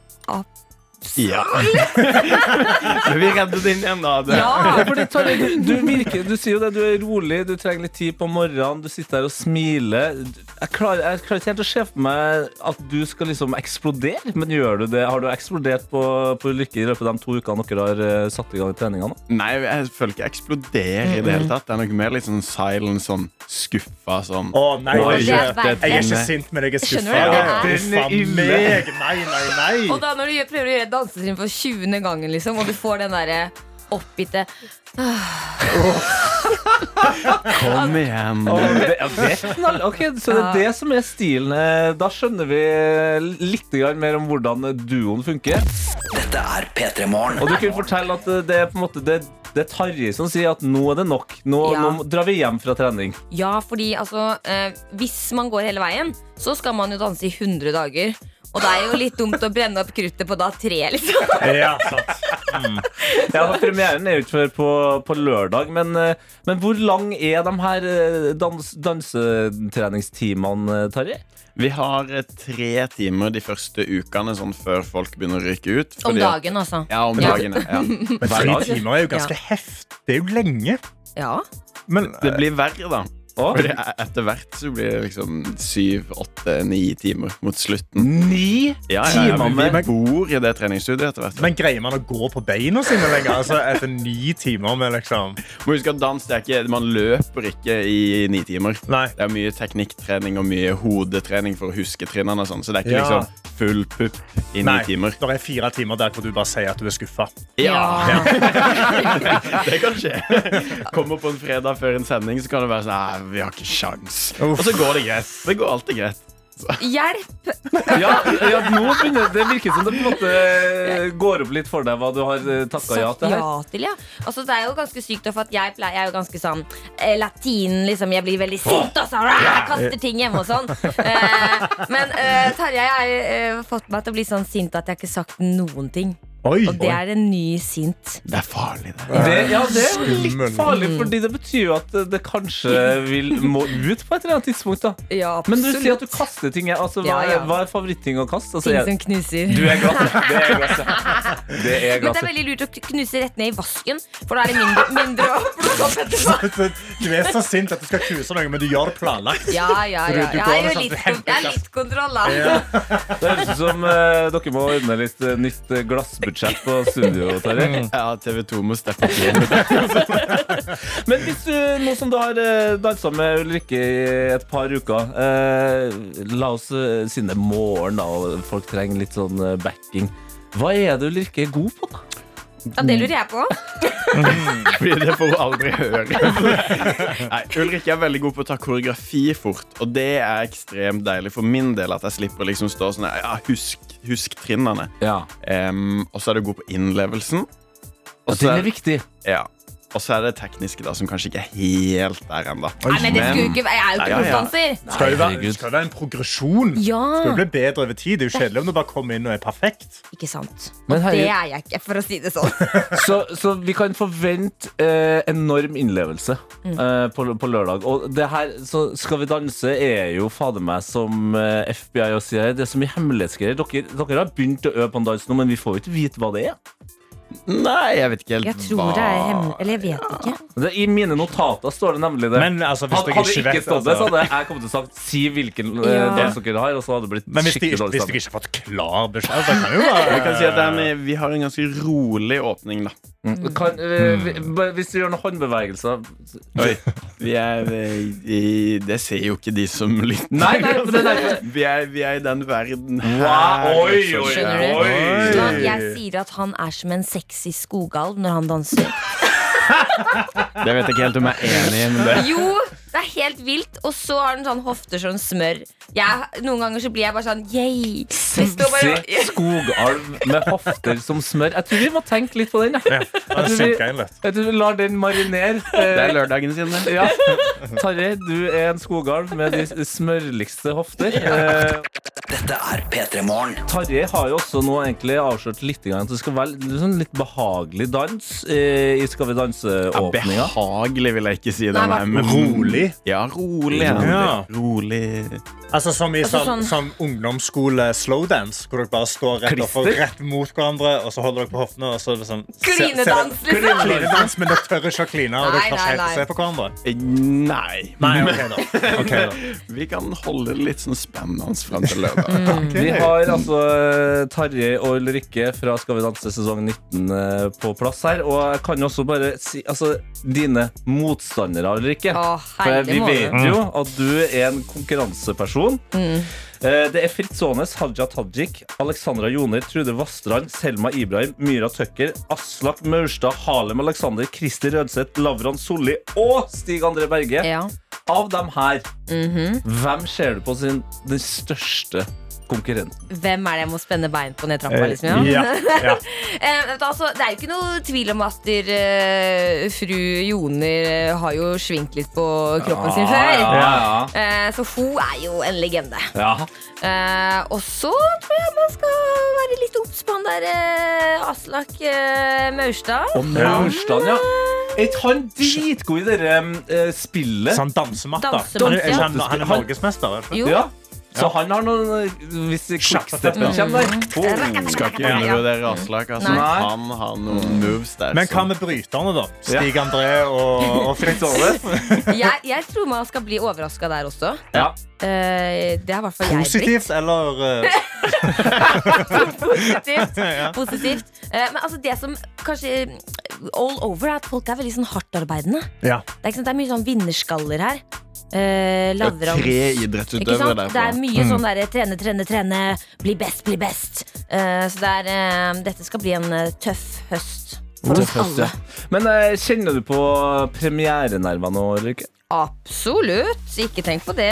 K: Ja. Men vi redder den igjen, da. Det.
C: Ja,
J: ja!
C: fordi, Tarjei, du, du, virker, du sier jo det, du er rolig, du trenger litt tid på morgenen, du sitter her og smiler. Jeg klarer, jeg klarer ikke helt å se for meg at du skal liksom eksplodere, men gjør du det? Har du eksplodert på, på Ulrikke i løpet av de to ukene dere har eh, satt i gang i treningene?
K: Nei, jeg føler ikke jeg eksploderer i det hele tatt. Det er noe mer litt sånn silent, sånn skuffa sånn.
D: Å nei,
K: Oi,
D: jeg er ikke,
J: det er
D: jeg er ikke
K: pinne.
D: sint, men jeg er skuffa.
J: Skjønner du det?
D: Ja,
C: Den er
D: faen
C: ille.
D: meg. Nei, nei,
J: Og
D: nei.
J: da når du gjør, prøver å gjøre et dansetrinn for 20. gangen, liksom, og du får den derre oppgitte
K: Kom igjen.
C: det, ja, det, knall- ok, så det er det som er stilen. Eh, Da skjønner vi eh, litt grann mer om hvordan eh, duoen funker.
A: Dette er P3 Morgen.
C: Og du kunne fortelle at eh, det er på en måte det er Det er Tarjei som sier at nå er det nok. Nå,
J: Ja.
C: nå drar vi hjem fra trening.
J: Ja, fordi altså eh, Hvis man går hele veien, så skal man jo danse i 100 dager. Og det er jo litt dumt å brenne opp kruttet på dag tre, liksom.
C: Ja, for Premieren er jo ikke før på, på lørdag. Men, eh, men hvor lang er de her eh, dans, dansetreningstimene, eh, Tarjei?
L: Vi har eh, tre timer de første ukene sånn før folk begynner å ryke ut.
J: Om
L: fordi at-
J: dagen, altså.
L: Ja, om dagen. Ja.
J: Men
D: tre timer er jo ganske
J: Ja.
D: heftig. Det er jo lenge.
J: Ja.
D: Men
L: Det blir verre, da.
C: Å?
L: Fordi e- etter hvert så blir det liksom syv, åtte, ni timer mot slutten.
C: Ni
L: Ja, ja, ja,
D: timer
L: men
D: med-
L: vi bor i det treningsstudiet etter hvert.
D: Men greier man å gå på beina sine lenger? Altså, etter ni timer med liksom
L: Må huske at dans det er ikke, Man løper ikke i ni timer.
D: Nei.
L: Det er mye teknikktrening og mye hodetrening for å huske trinnene. og sånn, Så det er ikke
D: Ja.
L: liksom full pupp i ni
D: Nei,
L: timer.
D: det er fire timer der hvor du bare sier at du er skuffa.
L: Ja. Det kan skje. Kommer på en fredag før en sending, så kan det være sånn Nei, vi har ikke sjans. Og så går det greit. Det går alltid greit.
J: Hjelp!
C: Ja, ja nå begynner Det virker som det på en måte eh, går opp litt for deg hva du har eh, takka ja
J: Sagt
C: til her.
J: ja til, ja. Altså, det er jo ganske sykt, da, for at jeg pleier jeg er jo ganske sånn eh, latin, liksom. Jeg blir veldig sint, altså. rah, Kaster ting hjemme og sånn. Eh, men eh, Tarjei har eh, fått meg til å bli sånn sint at jeg har ikke sagt noen ting.
D: Oi!
J: Og det er en ny sint.
L: Det er farlig, det.
C: Det, ja, det er jo litt
D: Skummel.
C: farlig, fordi det betyr jo at eh, det kanskje vil må ut på et eller annet tidspunkt. da
J: Ja,
C: Men du
J: absolutt.
C: sier at du kaster ting. Altså, hva,
J: Ja, ja.
C: er- hva er favoritting å kaste? Altså,
J: Ting
C: jeg,
J: som knuser.
C: du er glass. ja. Det er glass. ja. Det er
J: Men det
C: glass.
J: er
C: ja.
J: veldig lurt å knuse rett ned i vasken, for da er det mindre, mindre å plukke opp etterpå.
D: Du er så sint at du skal knuse noe, men du gjør det planlagt.
J: Ja, ja,
D: Så du-
J: ja.
D: du
J: Jeg
D: går
J: er jo
D: liksom
J: litt,
D: til helvete.
J: jeg er litt kontroll, da.
C: Det høres ut som eh, dere må ordne litt eh, nytt eh, glassbudsjett på studio. Terje.
L: Ja, TV2 må steppe inn.
C: Men hvis du, nå som du har eh, dansa med Ulrikke i et par uker eh, La oss eh, siden det er morgen da, og folk trenger litt sånn eh, backing. Hva er det Ulrikke er god på, da?
J: Ja, det lurer jeg på.
L: Fordi det får hun aldri høre. Nei, Ulrikke er veldig god på å ta koreografi fort, og det er ekstremt deilig for min del at jeg slipper å liksom stå sånn Ja, husk, husk trinnene.
C: Ja,
L: Em, og så er du god på innlevelsen. Og så
C: Den er
L: er,
C: viktig.
L: ja. Og så er det tekniske, da, som kanskje ikke er helt der ennå.
J: Nei, men det skulle jo ikke, jeg er jo
L: Nei,
J: ikke
L: ja, ja.
J: proffdanser.
D: Skal jo være,
C: herregud.
D: skal jo være en progresjon. Skal jo
J: Ja,
D: bli bedre over tid. Det er jo kjedelig om du bare kommer inn og er perfekt.
J: ikke sant. Og
C: Men
J: det
C: herregud.
J: er jeg ikke, for å si det sånn.
C: Så, så vi kan forvente eh, enorm innlevelse
J: Mm.
C: eh, på, på lørdag. Og det her, så Skal vi danse er jo fader meg som eh, FBI og CIA. Det er så mye hemmelighetsgreier. Dere, dere har begynt å øve på en dans nå, men vi får jo ikke vite hva det er.
L: Nei, jeg vet ikke helt
J: Jeg tror det er hemmelig Eller jeg vet ikke.
C: Det, I mine notater står det nemlig det.
D: Men altså, hvis
C: hadde
D: dere
C: hadde
D: ikke
C: ikke
D: vet
C: stått det, så
D: altså.
C: hadde jeg- jeg kommet til å sagt si hvilken eh,
J: Ja.
C: dans dere har, og så hadde det blitt
D: Men hvis de,
C: skikkelig dårlig
D: hvis dere
C: stemning.
D: ikke har fått klar beskjed, så kan jo bare
L: Jeg kan si at det er med, Vi har en ganske rolig åpning, da.
C: Kan, eh,
D: Mm.
C: vi- bare Hvis du gjør noen håndbevegelser
L: Oi. Vi er, eh, i, det ser jo ikke de som lytter.
C: Nei, nei, men det er derfor.
L: Vi er, vi er i den verden
C: Wow, oi,
L: liksom.
C: oi,
J: Skjønner du?
C: oi.
J: Så jeg sier at han er som en sexy skogalv når han danser.
L: Det vet jeg ikke helt om jeg er enig i. Men det.
J: Jo, det er helt vilt. Og så har han sånn hofter som smør. Jeg, noen ganger så blir jeg bare sånn yay. Det står bare
C: Se skogalv med hofter som smør. Jeg tror vi må tenke litt på den. Jeg,
D: Ja,
C: jeg, tror,
D: synker
C: vi,
D: inn litt.
C: jeg tror vi lar den marinere.
L: det er
C: Eh,
L: lørdagen sin, det.
C: ja. Tarjei, du er en skogalv med de smørligste hofter. Eh,
M: Dette er P3 Morgen.
C: Tarjei har jo også nå egentlig avslørt litt grann at det skal være litt sånn litt behagelig dans eh, i Skal vi
L: Ja,
C: danse-åpninga.
L: behagelig vil jeg ikke si.
J: Nei,
L: den er,
J: hva-
L: men
D: Rolig.
L: Ja, rolig. er den.
D: Ja.
L: Rolig.
D: Altså Som i
J: Altså,
D: sånn, sånn ungdomsskole-slowdance, hvor dere bare står rett, opp, og
C: Klister.
D: rett mot hverandre og så holder dere på hoftene. og så er det sånn se-
J: Klinedans,
D: se-
J: liksom.
D: Klinedans, men dere tør ikke å kline. Og dere
J: Nei,
D: tør ikke
J: nei,
D: helt å
J: nei.
D: se på hverandre
L: Eh, Nei.
D: Nei, ok da, ok da.
L: Vi kan holde det litt sånn spennende fram til lørdag.
C: Vi har altså eh, Tarjei og Ulrikke fra Skal vi danse sesong 19 eh, på plass her. Og jeg kan jo også bare si altså, dine motstandere, Ulrikke.
J: Å,
C: For vi
J: herlig
C: vet
J: måte.
C: jo at du er en konkurranseperson.
J: Mm.
C: Eh, Det er Fritz Aanes, Haja Tajik, Alexandra Joner, Trude Vastrand, Selma Ibrahim, Myra Tøkker, Aslak Maurstad, Halem Alexander, Kristi Rødseth, Lavran Solli og Stig André Berge.
J: Ja. Mhm.
C: av dem her, hvem ser du på sin den største konkurrenten?
J: Hvem er det jeg må spenne bein på ned trappa?
C: Eh,
J: Liksom, ja?
C: ja, ja.
J: Eh, vet du, altså, det er jo ikke noe tvil om at der, eh, fru Joner eh, har jo svingt litt på kroppen
C: Ja,
J: sin før.
C: ja,
J: Eh, så hun er jo en legende.
C: Ja.
J: Eh, og så tror jeg man skal være litt obs på han der eh, Aslak eh, Maurstad.
C: Og Maurstad, Eh, ja. Er ikke han dritgod i det eh, spillet?
D: Så han dansemakt, da?
J: Dansemakt,
D: Han er-
J: ja.
D: han- han er norgesmester? er det ikke?
J: Jo.
C: Ja. Så han har noen eh, Hvis quicksteppen kommer
J: Mm.
C: der
K: Skal ikke undervurdere Aslak. Altså.
D: Nei.
K: Han har noen moves der.
D: Men hva
K: som-
D: med bryterne, da? Stig André og, og Fritz Aarlef?
J: Jeg, jeg tror man skal bli overraska der også.
D: Ja.
J: Eh, det er i hvert fall jeg. Britt.
D: Positivt eller eh,
J: Positivt.
D: Ja.
J: Positivt. Eh, Men altså det som kanskje eh, all over, er at folk er veldig sånn hardtarbeidende.
D: Ja.
J: Det er, ikke sant? det er mye sånn vinnerskaller her. Eh, lavrans.
K: tre idrettsutøvere
J: Ikke sant?
K: derfra.
J: Det er mye
K: Mm.
J: sånn derre trene, trene, trene. Bli best, bli best. Eh, så det er, eh, dette skal bli en eh, tøff høst for oss alle.
C: Men eh, kjenner du på premierenervene nå, eller ikke?
J: Absolutt. Ikke tenk på det.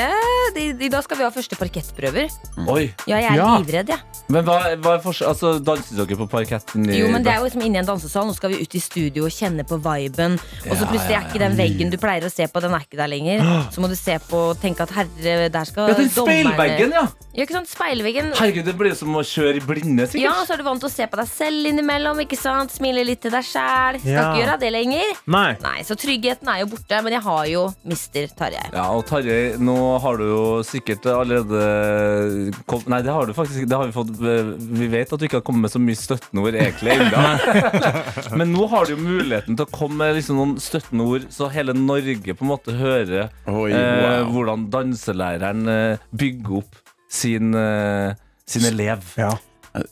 J: De, de, da skal vi ha første parkettprøver.
C: Oi.
J: Ja, jeg er livredd, jeg.
C: Men hva, hva er forskjell Altså, danser dere på parketten? i-
J: Jo, men det er jo liksom inni en dansesal. Nå skal vi ut i studio og kjenne på viben. Og
C: Ja,
J: så plutselig
C: ja,
J: er ikke den veggen du pleier å se på, den er ikke der lenger. Så må du se på og tenke at herre, der skal
C: Ja, den
J: dommerne-
C: speilveggen, ja.
J: Ja, ikke sant? Speilveggen.
C: Herregud, det blir jo som å kjøre i blinde, sikkert.
J: Ja, så er du vant til å se på deg selv innimellom. ikke sant? Smile litt til deg sjæl. Skal
C: Ja.
J: ikke gjøre det lenger.
C: Nei.
J: Nei, Så tryggheten er jo borte. Men jeg har jo mister Tarjei.
C: Ja, og Tarjei, nå har du jo sikkert allerede kom, Nei, det har du faktisk ikke. Det har vi fått eh, Vi vet at du ikke har kommet med så mye støttende ord egentlig ennå. Men nå har du jo muligheten til å komme med liksom noen støttende ord, så hele Norge på en måte hører
K: Oi,
C: eh,
K: wow.
C: hvordan danselæreren eh, bygger opp sin, eh, sin elev.
K: Eh,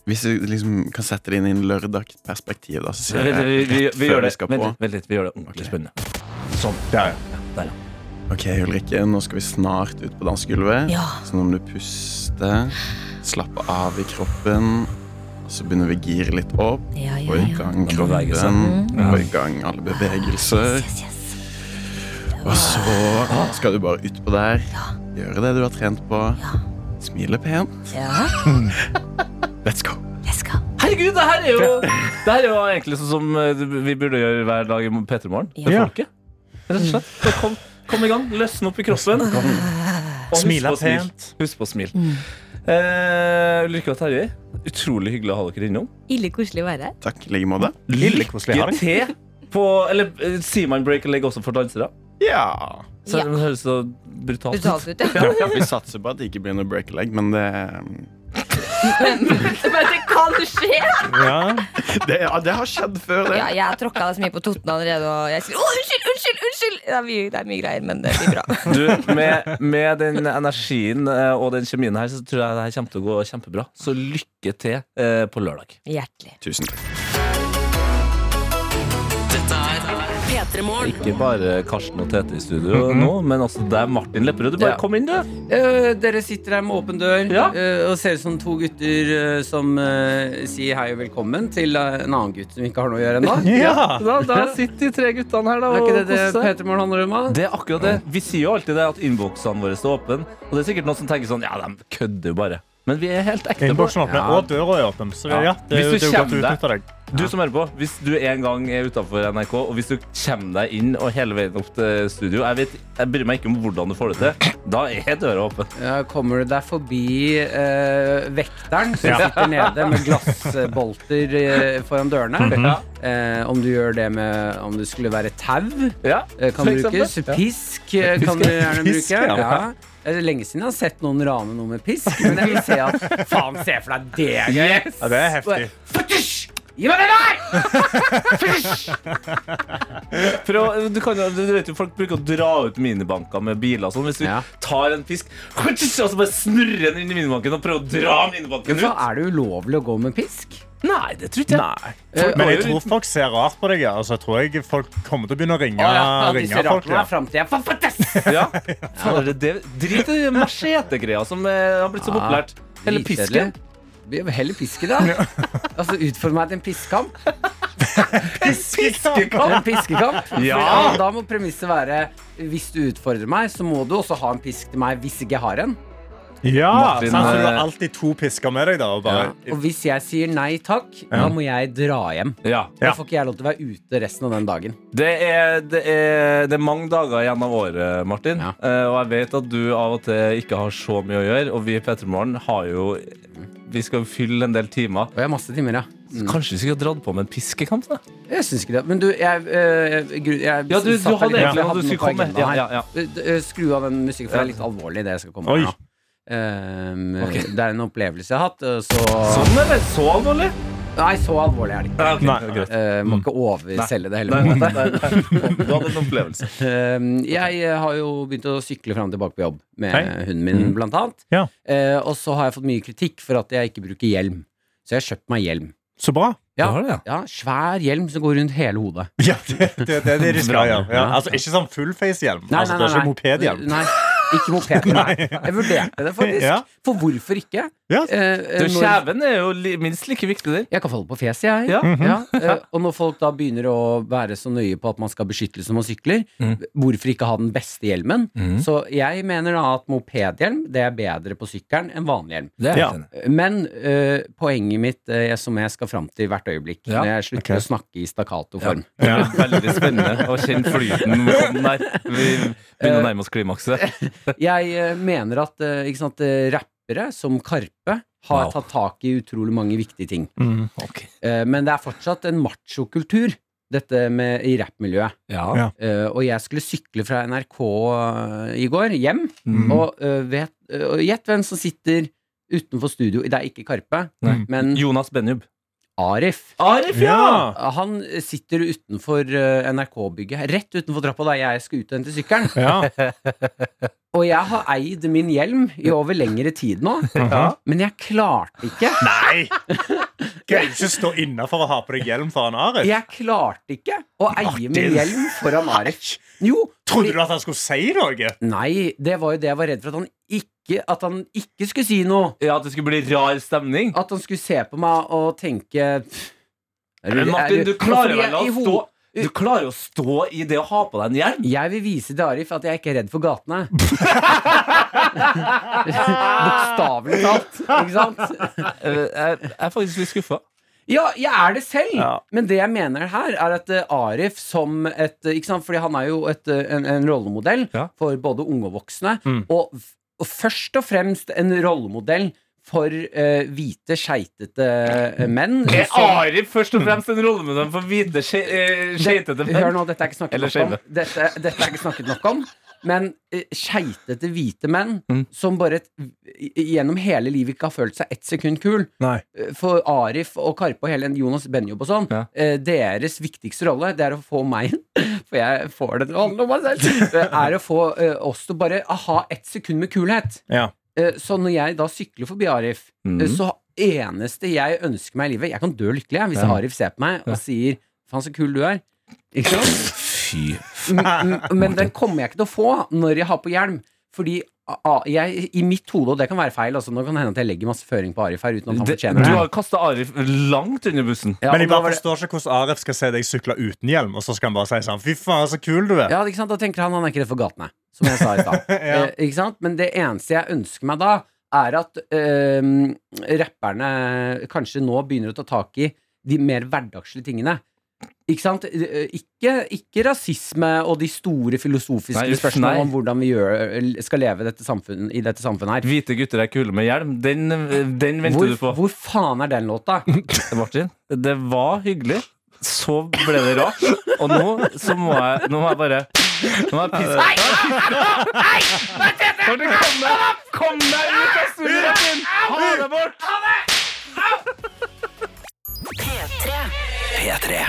K: Hvis jeg liksom kan sette det inn i en lørdagsperspektiv, da, så sier jeg
C: Vent, vi, vi,
K: rett
C: vi
K: før
C: gjør det.
K: skal
C: Vent
K: på.
C: litt, vent litt, vi gjør det ordentlig spennende. Sånn. Ja, der, ja.
K: Ok, Ulrikke, nå skal vi snart ut på dansegulvet.
C: Ja.
K: Så nå må du puste, slappe av i kroppen. Og så begynner vi å gire litt opp.
J: Ja, ja,
K: Få i
J: ja.
K: gang
C: Den bevegelsen.
K: kroppen.
C: Mm.
K: Få i gang alle bevegelser. Og
J: Ah.
K: så skal du bare utpå der. Gjøre det du har trent på. Smile pent.
J: Ja.
K: Let's go.
C: Herregud, det her er jo Det her er jo egentlig sånn som eh, vi burde gjøre hver dag i P3 Morgen. For
D: Ja.
C: folket. Rett og slett. Så kom, kom i gang. Løsne opp i kroppen. Og husk
D: Smile
C: på å smile.
D: pent.
C: Husk på å smile. Eh, Ulrikke og Terje, utrolig hyggelig å ha dere innom.
J: Ille koselig å være her.
K: Takk i like måte.
D: koselig å ha
C: Lykke
D: deg.
C: til på Eller eh, sier man break a leg også for dansere?
K: Ja.
C: Selv om det høres så brutalt
J: Brutalt ut, ja.
K: Vi satser på at det ikke blir noe break a leg, men det
J: Men det kan skje!
K: Det, det har skjedd før, det.
J: Ja, jeg har tråkka så mye på totten allerede, og jeg sier å, unnskyld, unnskyld, unnskyld! Det er mye, det er mye greier, men det blir bra.
C: Du, med, med den energien eh, og den kjemien her, så tror jeg det her kommer til å gå kjempebra. Så lykke til eh, på lørdag.
J: Hjertelig.
K: Tusen takk.
B: Dette er P3morgen.
C: Ikke bare Karsten og Tete i studio nå, men altså det er Martin Lepperød. Du bare
L: Ja.
C: kom inn, du.
L: Eh, dere sitter her med åpen dør eh, og ser ut som to gutter eh, som eh, sier hei og velkommen til eh, en annen gutt som vi ikke har noe å gjøre ennå.
C: Ja.
L: Da, da
C: sitter de tre guttene her da,
L: Er
C: og
L: ikke det det
C: koser seg.
L: Peter Morn handler om? da?
C: Det er akkurat det. Vi sier jo alltid det at innboksene våre er åpne. Og det er sikkert noen som tenker sånn Ja, de kødder jo bare. Men vi er helt ekte. på det.
D: Innboksen åpen,
C: Ja.
D: og døra er åpen. Så det, ja, det,
C: Hvis du
D: er jo- det er jo godt eh, å
C: kommer
D: utnytte deg.
C: Du som hører på, hvis du en gang er utenfor NRK, og hvis du kommer deg inn og hele veien opp til studio Jeg, vet, jeg bryr meg ikke om hvordan du får det til. Da er døra åpen.
L: Ja, kommer du deg forbi eh, vekteren som
C: Ja.
L: sitter nede med glassbolter eh, foran dørene?
C: Mhm.
L: eh, om du gjør det med Om det skulle være tau, eh, kan
C: for
L: brukes.
C: eksempel. Ja.
L: Pisk eh, kan
C: Pisk,
L: du gjerne
C: pisk,
L: bruke.
C: ja.
L: Ja. Det er lenge siden jeg har sett noen rane noe med pisk, men jeg vil se at Faen, se for deg det er gøy!
D: Yes. Ja, det er heftig.
L: Fysj! Gi meg det der!
C: For å, du, kan, jo- du vet jo, Folk bruker å dra ut minibanker med biler. og Sånn. Hvis du tar en fisk og så bare snurrer den inn i minibanken og prøver å dra minibanken
L: Så
C: ut
L: er det ulovlig å gå med pisk.
C: Nei, det tror ikke jeg.
L: Eh,
D: Folk, men jeg
C: går jo
D: tror folk ser rart på deg. ja. Altså, jeg tror jeg folk kommer til å begynne å ringe,
L: Å, ja, de
D: ringe
L: ser rart
D: folk.
L: på meg frem til jeg får
C: Faen, er det det? Drit i den machete-greia som eh, har blitt så
L: Ja,
C: populært. Eller
L: dritkjedelig.
C: pisken.
L: Vi vil Heller piske, da. Altså, utform meg til en piskekamp. Piskekamp! En piskekamp.
G: Ja.
L: For Da må premisset være hvis du utfordrer meg, så må du også ha en pisk til meg hvis ikke jeg har en.
D: Ja,
L: Martin,
D: sant, så du har
L: eh,
D: alltid to pisker med deg, da. Og bare,
L: Og hvis jeg sier nei takk, da
D: Ja.
L: må jeg dra hjem.
C: Ja.
L: Da får ikke jeg lov til å være ute resten av den dagen.
C: Det er, det, er, det er mange dager igjen av året, Martin. Eh, og jeg vet at du av og til ikke har så mye å gjøre. Og vi i P3 Morgen har jo Vi skal jo fylle en del timer.
L: Og jeg har masse timer, ja.
C: Så kanskje vi skulle ha dratt på med en piskekamp? da
L: Jeg syns ikke det. Men du, jeg, øh, gru- jeg
C: Ja, du- du
L: satt her
C: hadde egentlig
L: litt, jeg
C: noe du
L: noe
C: skulle
L: på
C: komme med.
L: agendaen
C: Ja,
L: her.
C: ja, ja.
L: Øh, øh, Skru av den musikken, for det er litt alvorlig, det jeg skal komme
C: Oi.
L: med. nå. Ehm,
C: Ok.
L: Det er en opplevelse jeg har hatt, øh, så
C: Sånn, eller? Så alvorlig?
L: Nei, så alvorlig er det ikke.
C: ok, Nei. greit.
L: Eh, må ikke overselge det heller. på en
C: Nei,
L: måte.
C: nei, nei, nei. Du hadde en opplevelse.
L: Ehm, Jeg eh, har jo begynt å sykle fram og tilbake på jobb med
C: Hei.
L: hunden min,
C: Mm.
L: blant annet. Eh, og så har jeg fått mye kritikk for at jeg ikke bruker hjelm. Så jeg har kjøpt meg hjelm.
D: Så bra.
L: Ja, ja, svær hjelm som går rundt hele hodet.
D: Ja, det, det, det er det de skal
L: Bra.
D: gjøre. Ja, altså, ikke sånn fullface-hjelm.
L: Nei,
D: Altså,
L: nei,
D: det er
L: nei,
D: ikke mopedhjelm.
L: Nei, ikke moped. Nei. Jeg vurderte det faktisk.
D: Ja.
L: For hvorfor ikke? Eh,
C: Du,
L: når-
C: Kjeven er jo li minst like viktig der.
L: Jeg kan falle på fjeset, jeg.
C: Ja.
L: Ja, eh, og når folk da begynner å være så nøye på at man skal ha beskyttelse når man sykler,
C: Mm.
L: hvorfor ikke ha den beste hjelmen?
C: Mhm.
L: Så jeg mener da at mopedhjelm det er bedre på sykkelen enn vanlig hjelm.
C: Det er jeg Ja. enig
L: Men eh, poenget mitt eh, som jeg skal fram til hvert øyeblikk,
C: Ja.
L: når jeg slutter å snakke i stakkato-form
C: Ja. Veldig spennende å kjenne flyten hvor den er. Vi begynner å nærme oss klimakset.
L: Jeg eh, mener at eh, ikke sant, eh, rappere som Karpe har
C: Wow.
L: tatt tak i utrolig mange viktige ting.
D: Mm.
L: Eh, Men det er fortsatt en machokultur, dette med, i rappmiljøet.
D: Ja.
L: Eh, og jeg skulle sykle fra NRK eh, i går hjem,
D: Mm.
L: og eh, vet- eh, og gjett hvem som sitter utenfor studio. Det er ikke Karpe, men
C: Jonas Benjub.
L: Arif.
C: Arif, ja!
L: Han sitter utenfor eh, NRK-bygget, rett utenfor trappa der jeg skal ut og hente sykkelen. og jeg har eid min hjelm i over lengre tid nå,
D: Mhm.
L: men jeg klarte ikke
D: Nei! Greier du ikke å stå innafor og ha på deg hjelm foran Arif?
L: Jeg klarte ikke å eie min hjelm foran Arif. Jo,
D: Trodde du at han skulle si noe?
L: Nei, det var jo det jeg var redd for. At han ikke, at han ikke skulle si noe.
C: Ja, At det skulle bli rar stemning?
L: At han skulle se på meg og tenke pff, er
C: Men Eh, Martin,
L: er
C: du klarer
L: Fordi jeg-
C: vel å
L: i ho-
C: stå Du klarer jo å stå i det å ha på deg en hjelm?
L: Jeg vil vise til Arif at jeg ikke er redd for gatene. Bokstavelig talt, ikke sant?
C: Eh, Jeg er faktisk litt skuffa.
L: Ja, jeg er det selv!
C: Ja.
L: Men det jeg mener her, er at eh, Arif som et eh, Ikke sant, fordi han er jo et, eh, en, en rollemodell for både unge og voksne.
D: Mm.
L: Og, f- og først og fremst en rollemodell for eh, hvite, skeitete eh, menn.
C: Er
L: som-
C: Arif først og fremst en rollemodell for hvite, skje- eh, skeitete
L: Det- Hør nå, dette er ikke snakket
C: Eller
L: nok om.
C: skeive.
L: Dette, dette er ikke snakket nok om. Men eh, skeitete hvite menn som bare et, i- gjennom hele livet ikke har følt seg ett sekund kul.
D: Nei.
L: Eh, For Arif og Karpe og hele Jonas Benjob og sånn, eh, deres viktigste rolle, det er å få meg inn For jeg får den rollen om meg selv. eh, Er å få eh, oss til bare å ha ett sekund med kulhet.
D: Ja.
L: Eh, Så når jeg da sykler forbi Arif,
D: Mhm.
C: Mm.
L: eh, så eneste jeg ønsker meg i livet Jeg kan dø lykkelig jeg, hvis
D: Ja.
L: Arif ser på meg og sier 'faen, så kul du er'. Ikke sant?
C: Fy
L: M- m- Men den kommer jeg ikke til å få når jeg har på hjelm. Fordi a- a- jeg, i mitt hode, og det kan være feil, altså, nå kan det hende at jeg legger masse føring på Arif her uten at han
C: Det-
L: fortjener
C: Du
L: det.
C: har kasta Arif langt under bussen.
L: Ja,
D: Men jeg
L: og da var
D: bare
L: det-
D: forstår ikke hvordan Arif skal se deg sykle uten hjelm, og så skal han bare si sånn Fy faen, så kul du er.
L: Ja, ikke sant? Da tenker han han er ikke redd for gatene, som jeg sa i stad. eh, ikke sant? Men det eneste jeg ønsker meg da, er at eh, rapperne kanskje nå begynner å ta tak i de mer hverdagslige tingene. Ikke sant? Eh, Ikke, ikke rasisme og de store filosofiske
C: Nei, uff, nei.
L: spørsmålene om hvordan vi gjør, eh, skal leve dette samfunn- i dette samfunnet her.
C: Hvite gutter er kule med hjelm. Den, eh, den venter
L: Hvor-
C: du på.
L: Hvor faen er den låta?
C: Martin, det var hyggelig. Så ble det rart. Og nå så må jeg Nå må jeg bare Nå må jeg pisse. Kan du komme? Kom deg ut av studioet, Martin! Ha det bort!
A: P3.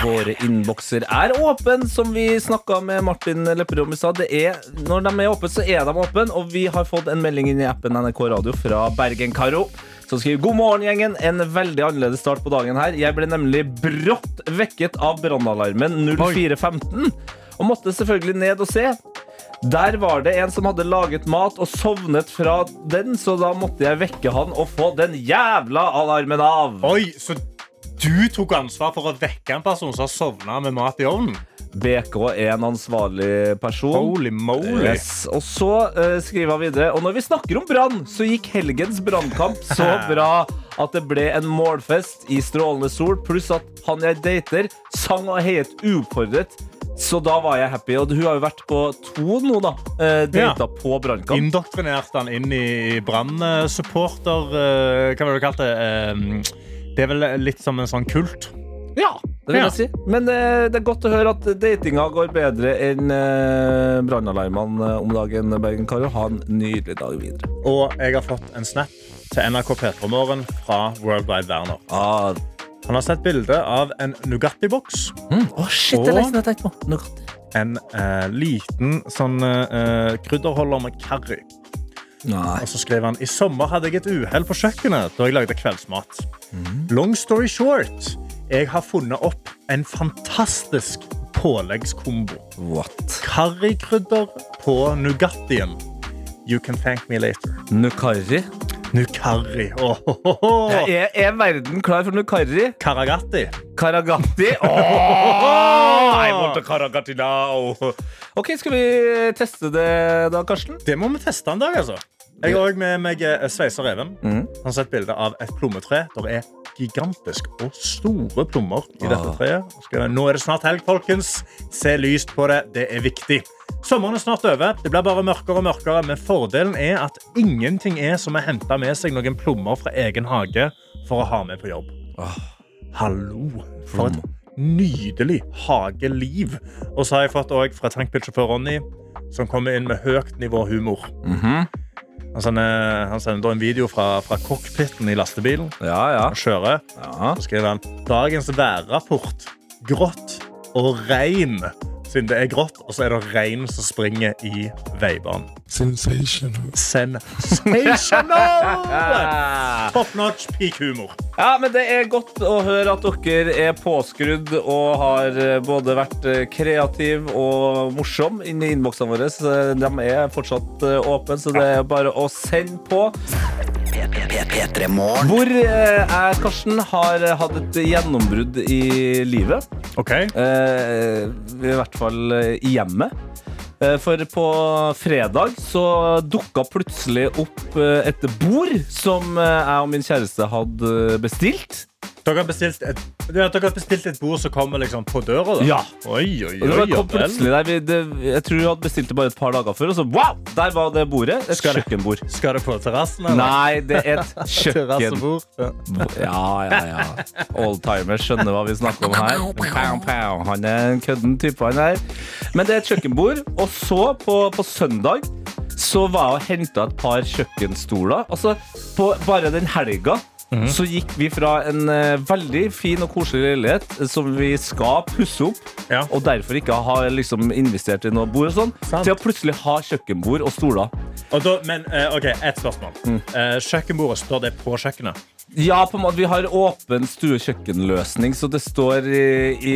C: Våre innbokser er åpen, som vi snakka med Martin Lepperød om i stad. Det er- Når de er åpne, så er de åpne. Og vi har fått en melding inn i appen NRK Radio fra Bergen-Karo. Som skriver God morgen, gjengen. En veldig annerledes start på dagen her. Jeg ble nemlig brått vekket av brannalarmen 0415. Og måtte selvfølgelig ned og se. Der var det en som hadde laget mat og sovnet fra den, så da måtte jeg vekke han og få den jævla alarmen av.
D: Oi, så
L: du tok ansvar for å vekke en person som har sovna med mat i ovnen.
C: BK er en ansvarlig person.
L: Holy moly.
C: Yes. Og så eh, skriver han videre Og når vi snakker om brann, så gikk helgens brannkamp så bra at det ble en målfest i strålende sol, pluss at han jeg dater, sang og heiet uoppfordret. Så da var jeg happy. Og hun har jo vært på to nå, da. Eh, data på brannkamp.
L: Indoktrinerte han inn i brannsupporter eh, Hva var det du kalte det? Eh, Det er vel litt som en sånn kult.
C: Ja, det vil
L: Ja.
C: jeg si. Men eh, det er godt å høre at datinga går bedre enn eh, brannalarmene om dagen, Bergen Karo. Ha en nydelig dag videre.
L: Og jeg har fått en snap til NRK P3 Morgen fra Worldwide Werner.
C: Ah.
L: Han har sett bilde av en Nugatti-boks.
C: Mm. shit, det er lenge siden jeg har tenkt på. Nougat.
L: en eh, liten sånn eh, krydderholder med curry. Og så skrev han i sommer hadde jeg et uhell på kjøkkenet da jeg lagde kveldsmat. Long story short, jeg har funnet opp en fantastisk påleggskombo. Currykrydder på Nugattien. You can thank me later.
C: Nukari.
L: Nukarri. Åh, åh, åh,
C: Ja,
L: åh.
C: Er, er verden klar for Nukari?
L: Karagatti.
C: Karagatti? Åh, I want a Karagatti now! Ok, skal vi teste det da, Karsten?
L: Det må vi teste en dag, altså. Jeg har òg med meg eh, Sveiser Even. Han har sett bilde av et plommetre. Det er gigantisk og store plommer i dette
N: Ah.
L: treet. Skal, nå er det snart helg, folkens. Se lyst på det. Det er viktig. Sommeren er snart over. Det blir bare mørkere og mørkere. Men fordelen er at ingenting er som å hente med seg noen plommer fra egen hage for å ha med på jobb. Hallo. For et nydelig hageliv. Og så har jeg fått òg fra tankbilsjåfør Ronny, som kommer inn med høyt nivå humor.
C: Mhm.
L: Han sender, han sender da en video fra, fra cockpiten i lastebilen. Han kjører. Så skriver han dagens værrapport. Grått og regn. Siden det er grått, og så er det regn som springer i veibanen. Sensational. Sensational! Top notch peak humor.
C: Ja, men Det er godt å høre at dere er påskrudd og har eh, både vært eh, kreativ og morsom inni innboksene våre. Så De er fortsatt eh, åpne, så det er bare å sende på. Hvor eh, jeg, Karsten, har eh, hatt et gjennombrudd i livet. Eh, I hvert fall eh, i hjemmet. Eh, For på fredag så dukka plutselig opp eh, et bord som eh, jeg og min kjæreste hadde bestilt.
L: Dere har bestilt et, ja, dere har bestilt et bord som kommer liksom på døra? Da.
C: Ja.
L: Oi, oi, oi,
C: Og det bare
L: ja
C: kom
L: vel.
C: plutselig der. Vi, det, jeg tror vi hadde bestilt det bare et par dager før, og så wow! Der var det bordet. Et
L: Skal det-
C: kjøkkenbord.
L: Skal det på terrassen? eller?
C: Nei, det er et kjøkken.
L: Terrassebord. Ja.
C: Ja, ja, ja. Oldtimer skjønner hva vi snakker om her. Pow, pow. Han er en kødden type, han her. Men det er et kjøkkenbord. Og så, på, på søndag, så var jeg og henta et par kjøkkenstoler. Altså, på bare den helga så gikk vi fra en eh, veldig fin og koselig leilighet eh, som vi skal pusse opp, og derfor ikke har liksom, investert i noe bord, og sånn, til å plutselig ha kjøkkenbord og stoler.
L: Og da, men eh, ok, ett spørsmål. Eh, kjøkkenbordet, står det på kjøkkenet?
C: Ja, på en måte, vi har åpen stuekjøkkenløsning, så det står i,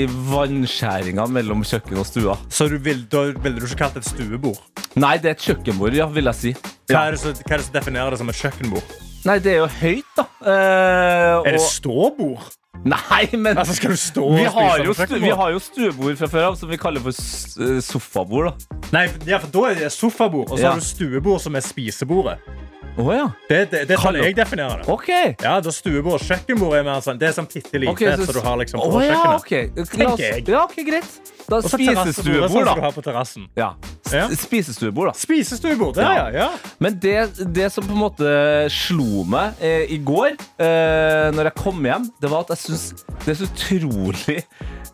C: i vannskjæringa mellom kjøkken og stua.
L: Så du vil, da ville du ikke kalt det et stuebord?
C: Nei, det er et kjøkkenbord, ja, vil jeg si.
L: Hva er det som, hva er det som definerer det som et kjøkkenbord?
C: Nei, det er jo høyt, da. Eh,
L: Er det
C: og-
L: ståbord?
C: Nei, men
L: Altså, skal du stå og
C: vi, har
L: spise
C: jo
L: på
C: stu,
L: kjøkkenbord?
C: vi har jo stuebord fra før av som vi kaller for s- eh, sofabord, da.
L: Nei, ja, for da er det sofabord, og så
C: Ja.
L: har du stuebord som er spisebordet.
C: Å ja.
L: Det, det, det er sånn
C: Hallo.
L: jeg definerer det.
C: Ok.
L: Ja, da stuebord og kjøkkenbord er mer sånn, det er sånn bitte lite
C: Ok, så-
L: som du har liksom på
C: Å, ja,
L: kjøkkenet.
C: ok. La
L: Tenker
C: oss-
L: jeg.
C: Ja, ok, greit. Da
L: Og så terrassebordet, sånn
C: spisestuebord,
L: som du
C: da.
L: har på terrassen.
C: Ja. S- Spisestuebord, da.
L: Spisestuebord, ja, ja, ja.
C: Men det, det som på en måte slo meg eh, i går, eh, når jeg kom hjem, det var at jeg syns det er så utrolig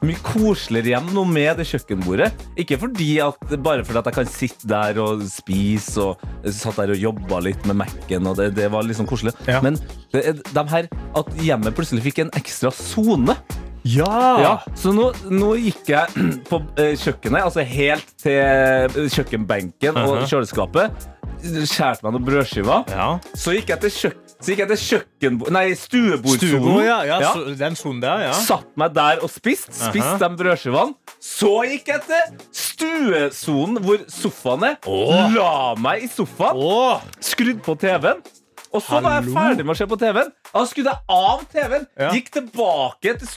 C: mye koseligere hjem nå med det kjøkkenbordet. Ikke fordi at, bare fordi at jeg kan sitte der og spise og jeg satt der og jobba litt med Mac-en, og det, det var liksom koselig. Men det, er de her, at hjemmet plutselig fikk en ekstra sone. Ja, Så nå, nå gikk jeg på eh, kjøkkenet, altså helt til eh, kjøkkenbenken og
L: Mhm.
C: kjøleskapet. Skjærte meg noen brødskiver. Så gikk jeg til, kjøk så gikk jeg til kjøkkenbord... Nei, stuebordsonen.
L: Stuebord, ja, ja, så- Den sonen der, ja. Uh-huh.
C: Satt meg der og spist, spist
L: Aha.
C: de brødskivene. Så gikk jeg til stuesonen hvor sofaen er. La meg i sofaen. Skrudd på TV-en. Og så var jeg ferdig med å se på TV-en. Da skulle jeg av TV-en, gikk tilbake til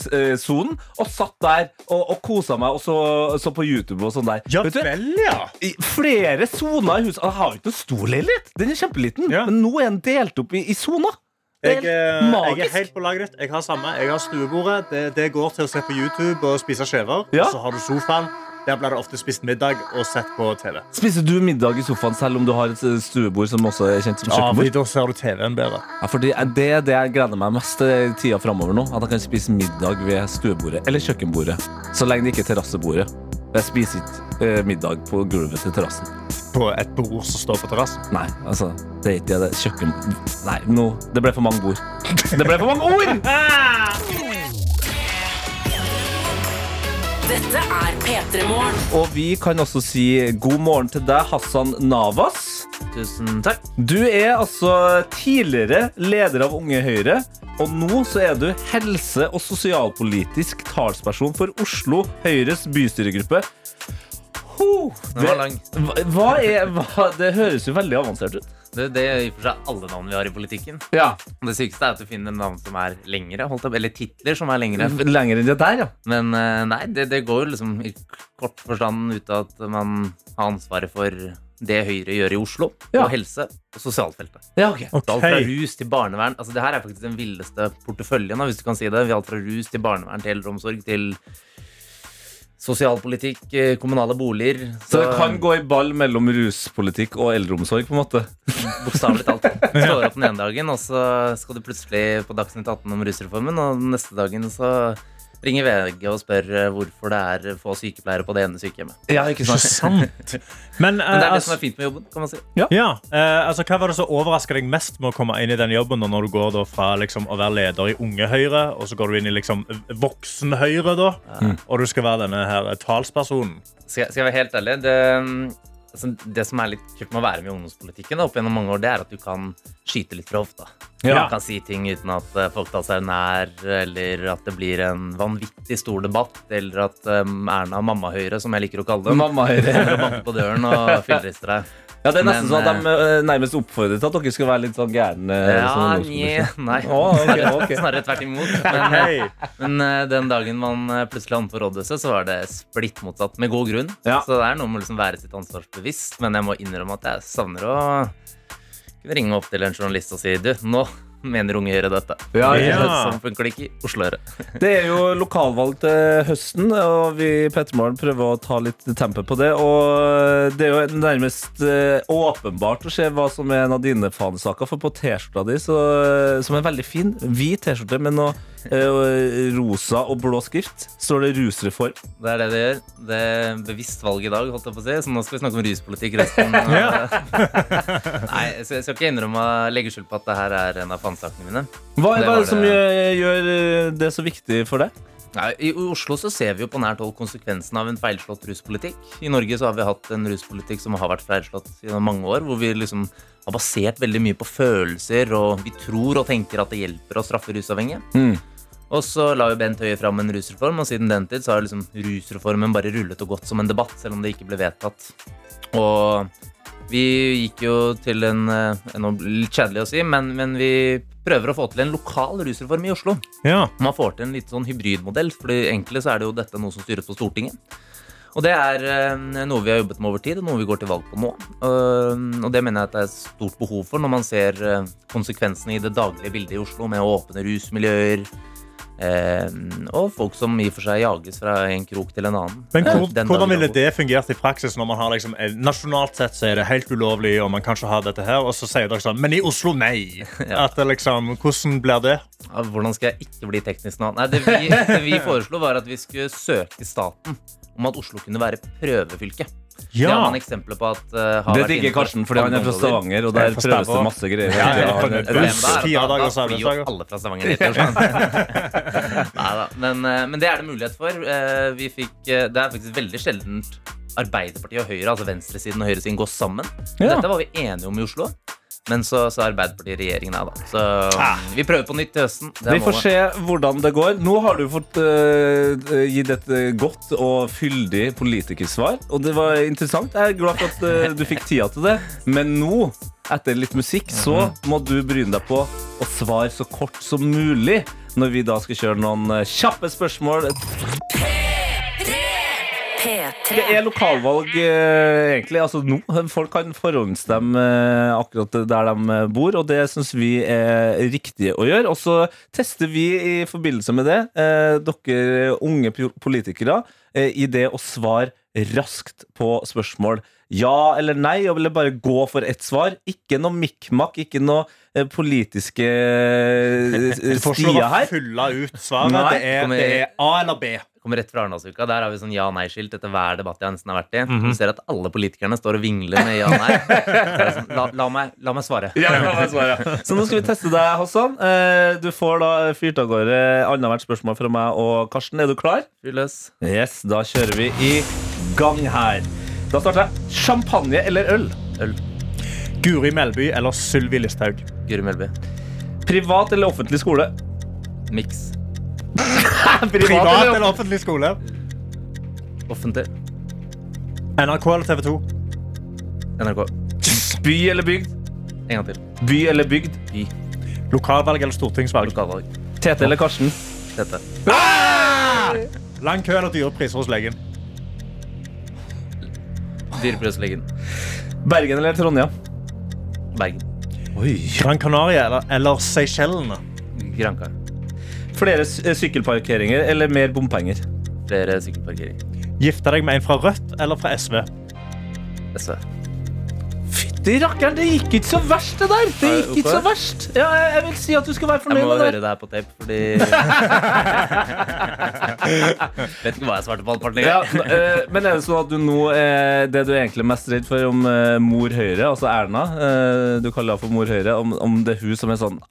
C: stuebordsonen og satt der og, og kosa meg og så, så på YouTube og sånn der. Vet du, i Flere soner i huset. Jeg har jo ikke noe stor leilighet, den er kjempeliten, men nå er den delt opp i, i soner. Det
D: Jeg,
C: er
D: eh, jeg er
C: magisk.
D: helt på laget ditt. Jeg har samme. Jeg har stuebordet. Det, det går til å se på YouTube og spise skjever. Og så har du sofaen. Der blir det ofte spist middag og sett på TV.
C: Spiser du middag i sofaen selv om du har et eh, stuebord som også er kjent som
D: Ja,
C: kjøkkenbord?
D: fordi da ser du TV-en bedre.
C: Ja, fordi Det er det jeg gleder meg mest til i tida framover nå. At jeg kan spise middag ved stuebordet eller kjøkkenbordet. Så lenge det ikke er terrassebordet. Jeg spiser ikke eh, middag på gulvet til terrassen.
D: På et bord som står på terrassen?
C: Nei, altså, det er ikke det. Kjøkken... Nei, nå Det ble for mange bord. Det ble for mange ord!
B: Dette er P3 Morgen.
C: Og vi kan også si god morgen til deg, Hassan Navas. Tusen takk. Du er altså tidligere leder av Unge Høyre, og nå så er du helse- og sosialpolitisk talsperson for Oslo Høyres bystyregruppe. Ho,
M: Den var lang.
C: Hva, hva er, hva, det høres jo veldig avansert ut.
M: Det, det gjør i og for seg alle navn vi har i politikken.
C: Ja.
M: Det sykeste er at du finner navn som er lengre, holdt opp, eller titler som er lengre.
C: Lenger enn det der, ja.
M: Men eh, nei, det, det går jo liksom i kort forstand ut av at man har ansvaret for det Høyre gjør i Oslo,
C: Ja.
M: og helse og sosialfeltet.
C: Ja, ok.
M: Alt fra
C: Ok.
M: rus til barnevern. Altså, det her er faktisk den villeste porteføljen, da, hvis du kan si det. Vi har alt fra rus til barnevern til eldreomsorg til sosialpolitikk, eh, kommunale boliger.
C: Så det kan gå i ball mellom ruspolitikk og eldreomsorg, på en måte.
M: Bokstavelig talt. Slår opp den ene dagen, og så skal du plutselig på Dagsnytt 18 om rusreformen, og den neste dagen så ringer VG og spør eh, hvorfor det er få sykepleiere på det ene sykehjemmet.
C: Ja, ikke sant.
M: Men,
O: Men, eh,
M: det er det
O: altså-
M: som er fint med jobben, kan man si.
O: Ja. eh, altså, hva var det som overraska deg mest med å komme inn i den jobben, da, når du går da fra liksom, å være leder i Unge Høyre, og så går du inn i liksom, Voksen Høyre, da,
M: Ja.
O: og du skal være denne her eh, talspersonen?
M: Skal, jeg- skal jeg være helt ærlig? Det, altså, det som er litt kult med å være med i ungdomspolitikken da, opp gjennom mange år, det er at du kan skyte litt grovt. da.
O: Ja.
M: Du kan si ting uten at eh, folk tar seg nær, eller at det blir en vanvittig stor debatt, eller at eh, Erna og mamma Høyre, som jeg liker å kalle dem,
C: Mamma Høyre.
M: kommer og banker på døren og fillerister deg.
C: Ja, Det er nesten
M: Men,
C: sånn at de eh, nærmest oppfordrer til at dere skal være litt sånn gærne.
M: eh, ja,
C: sånn
M: nje,
C: ungdomspolitikk.
M: nei.
C: Å, ok, ok.
M: Snarere tvert imot. Men, eh, men eh, den dagen man eh, plutselig havnet på rådhuset, så var det splitt motsatt, med god grunn. Så det er noe med å liksom være sitt ansvarsbevisst, men jeg må innrømme at jeg savner å kunne ringe opp til en journalist og si du, nå mener unge Høyre dette.
C: Ja, ja.
M: Sånn funker det ikke i Oslo Høyre.
C: Det er jo lokalvalg til høsten, og vi i Pettermorgen prøver å ta litt tempe på det. Og det er jo nærmest eh, åpenbart å se hva som er en av dine fanesaker. For på T-skjorta di, så, som er veldig fin, hvit T-skjorte med noe eh, rosa og blå skrift, står det 'rusreform'.
M: Det er det det gjør. Det er bevisst valg i dag, holdt jeg på å si. Så nå skal vi snakke om ruspolitikk resten. av- Nei, så jeg skal ikke innrømme å legge skjul på at det her er en av fansakene mine.
C: Hva,
M: Det
C: hva
M: var
C: er det som gjør, gjør eh, det så viktig for deg?
M: Nei, I Oslo så ser vi jo på nært hold konsekvensen av en feilslått ruspolitikk. I Norge så har vi hatt en ruspolitikk som har vært feilslått gjennom mange år, hvor vi liksom har basert veldig mye på følelser, og vi tror og tenker at det hjelper å straffe rusavhengige. Og så la jo Bent Høie fram en rusreform, og siden den tid så har liksom rusreformen bare rullet og gått som en debatt, selv om det ikke ble vedtatt. Og vi gikk jo til en, eh, noe litt kjedelig å si, men, men vi prøver å få til en lokal rusreform i Oslo. Man får til en litt sånn hybridmodell, for egentlig så er det jo dette noe som styres på Stortinget. Og det er eh, noe vi har jobbet med over tid, og noe vi går til valg på nå. Eh, Og det mener jeg at det er et stort behov for når man ser eh, konsekvensene i det daglige bildet i Oslo, med åpne rusmiljøer, eh, og folk som i og for seg jages fra en krok til en annen.
O: Men
M: Eh,
O: hvor,
M: den
O: hvordan
M: dagen
O: ville
M: da-
O: det fungert i praksis når man har liksom, eh, Nasjonalt sett så er det helt ulovlig, og man kan ikke ha dette her, og så sier dere sånn Men i Oslo, nei! At det liksom, hvordan blir det?
M: Ja, Ah, hvordan skal jeg ikke bli teknisk nå? Nei, det vi, det vi foreslo var at vi skulle søke staten om at Oslo kunne være prøvefylke.
C: Ja.
M: Det har man eksempler på at eh, har
C: Det
M: vært
C: digger
M: innenfor
C: Karsten, fordi han er fra
M: andre områder.
C: Stavanger, og der Jeg er fra prøves det Stavanger. masse greier.
M: Ja, ja, ja.
C: Ja, han er-
M: Problemet er at
O: Fire
M: da-
O: dager
M: da flyr jo
O: arbeidsdager.
M: alle fra Stavanger dit. sånn. Neida, Men, eh, men det er det mulighet for. Eh, Vi fikk, eh, det er faktisk veldig sjeldent Arbeiderpartiet og Høyre, altså venstresiden og høyresiden, går sammen.
O: Ja.
M: Dette var vi enige om i Oslo. Men så sa Arbeiderpartiet regjeringen her, da. Så vi prøver på nytt til høsten. Det er
C: Vi får
M: målet.
C: se hvordan det går. Nå har du fått eh, gitt et eh, godt og fyldig politikersvar. Og det var interessant. Jeg er glad for at eh, du fikk tida til det. Men nå
G: etter litt musikk, så
M: Mhm.
G: må du bryne deg på å svare så kort som mulig når vi da skal kjøre noen eh, kjappe spørsmål. Altså, Det er lokalvalg eh, egentlig, altså nå. Folk kan forhåndsstemme eh, akkurat der de eh, bor, og det syns vi er riktig å gjøre. Og så tester vi i forbindelse med det, eh, dere unge pol- politikere, eh, i det å svare raskt på spørsmål. Ja eller nei, og ville bare gå for ett svar. Ikke noe mikk-makk, ikke noe eh, politiske eh, stier her.
L: Fylle ut svaret.
C: Nei,
L: det, er,
C: kommer-
L: det er A eller B.
C: Kommer rett fra Arendalsuka. Der har vi sånn ja-nei-skilt etter hver debatt jeg nesten har vært i.
L: Mhm.
C: Du ser at alle politikerne står og vingler med ja-nei. Sånn, la, la, meg- la meg svare.
G: Så nå skal vi teste deg, Hassan. Eh, Du får da fyrt av gårde annethvert spørsmål fra meg og Karsten. Er du klar?
C: Fyr løs.
G: Yes, da kjører vi i gang her. Da starter jeg. Champagne eller øl?
C: Øl.
L: Guri Melby eller Sylvi Listhaug?
C: Guri Melby.
G: Privat eller offentlig skole?
C: Miks.
L: Privat eller offentlig skole?
C: Offentlig.
L: NRK eller TV 2?
C: NRK.
G: By eller bygd?
C: En gang til.
G: By eller bygd?
C: By.
L: Lokalvalg eller stortingsvalg?
C: Lokalvalg.
G: Tete eller Karsten?
C: Tete.
L: Lang kø eller dyre priser hos legen?
C: Dyreprøveslegen.
G: Bergen eller Trondheim?
C: Bergen.
L: Gran Canaria eller, eller Seychellene?
C: Granka.
G: Flere s- eh, sykkelparkeringer eller mer bompenger?
C: Flere sykkelparkeringer.
L: Gifte deg med en fra Rødt eller fra SV?
C: SV.
G: Fytti rakkeren, det gikk ikke så verst, det der! Det gikk ikke så verst. Ja, jeg jeg vil si at du skal være
C: Jeg
G: fornøyd
C: må
G: med det.
C: høre det her på tape, fordi Vet ikke hva jeg svarte på halvparten
G: Ja,
C: engang.
G: eh, men er det sånn at du nå eh, Det du er egentlig mest redd for om eh, mor Høyre, altså Erna eh, Du kaller henne for mor Høyre, om, om det er hun som er sånn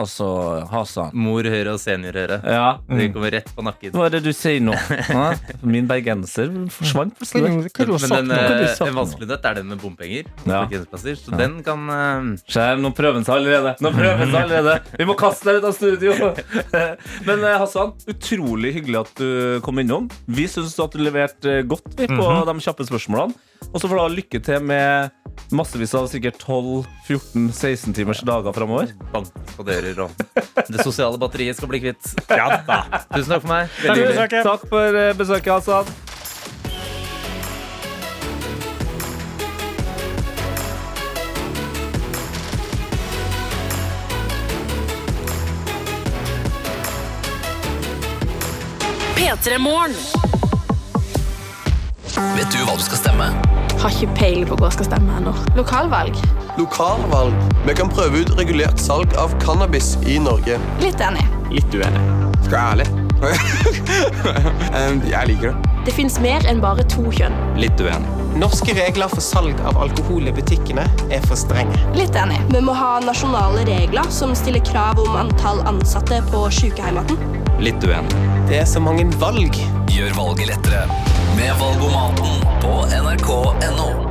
G: Altså, Mm. Hasan.
C: Mor Høyre og senior Høyre.
G: Ja.
C: De kommer rett på nakken.
G: Hva er det du sier nå? Hæ? Min bergenser forsvant plutselig.
C: Men den,
G: Hva er det du
C: eh,
G: sa for
C: en
G: noe?
C: vanskelig nøtt er den med bompenger.
G: Ja.
C: parkeringsplasser, Så
G: Ja.
C: den kan eh,
G: Skjerm, nå prøver han seg allerede. Nå prøver han seg allerede Vi må kaste deg ut av studio. Men eh, Hassan, utrolig hyggelig at du kom innom. Vi syns at du leverte eh, godt vi, på
L: Mhm.
G: de kjappe spørsmålene. Og så får du ha lykke til med massevis av sikkert 12-14-16 timers dager framover.
C: banke på dører og Det sosiale batteriet skal bli kvitt. Tusen takk for meg. Veldig
G: Takk for
C: hyggelig.
G: besøket. Takk for eh, besøket, Hassan.
B: P3 Morgen.
M: Vet du hva du skal stemme?
J: Har ikke peiling på hva jeg skal stemme ennå. Lokalvalg.
P: Lokalvalg. Vi kan prøve ut regulert salg av cannabis i Norge.
J: Litt enig.
P: Litt uenig. Skal jeg være ærlig? Em, jeg liker det.
J: Det fins mer enn bare to kjønn.
P: Litt uenig. Norske regler for salg av alkohol i butikkene er for strenge.
J: Litt enig. Vi må ha nasjonale regler som stiller krav om antall ansatte på sykehjemmene.
M: Litt uenig.
P: Det er så mange valg.
M: Gjør valget lettere med Valgomaten på nrk.no.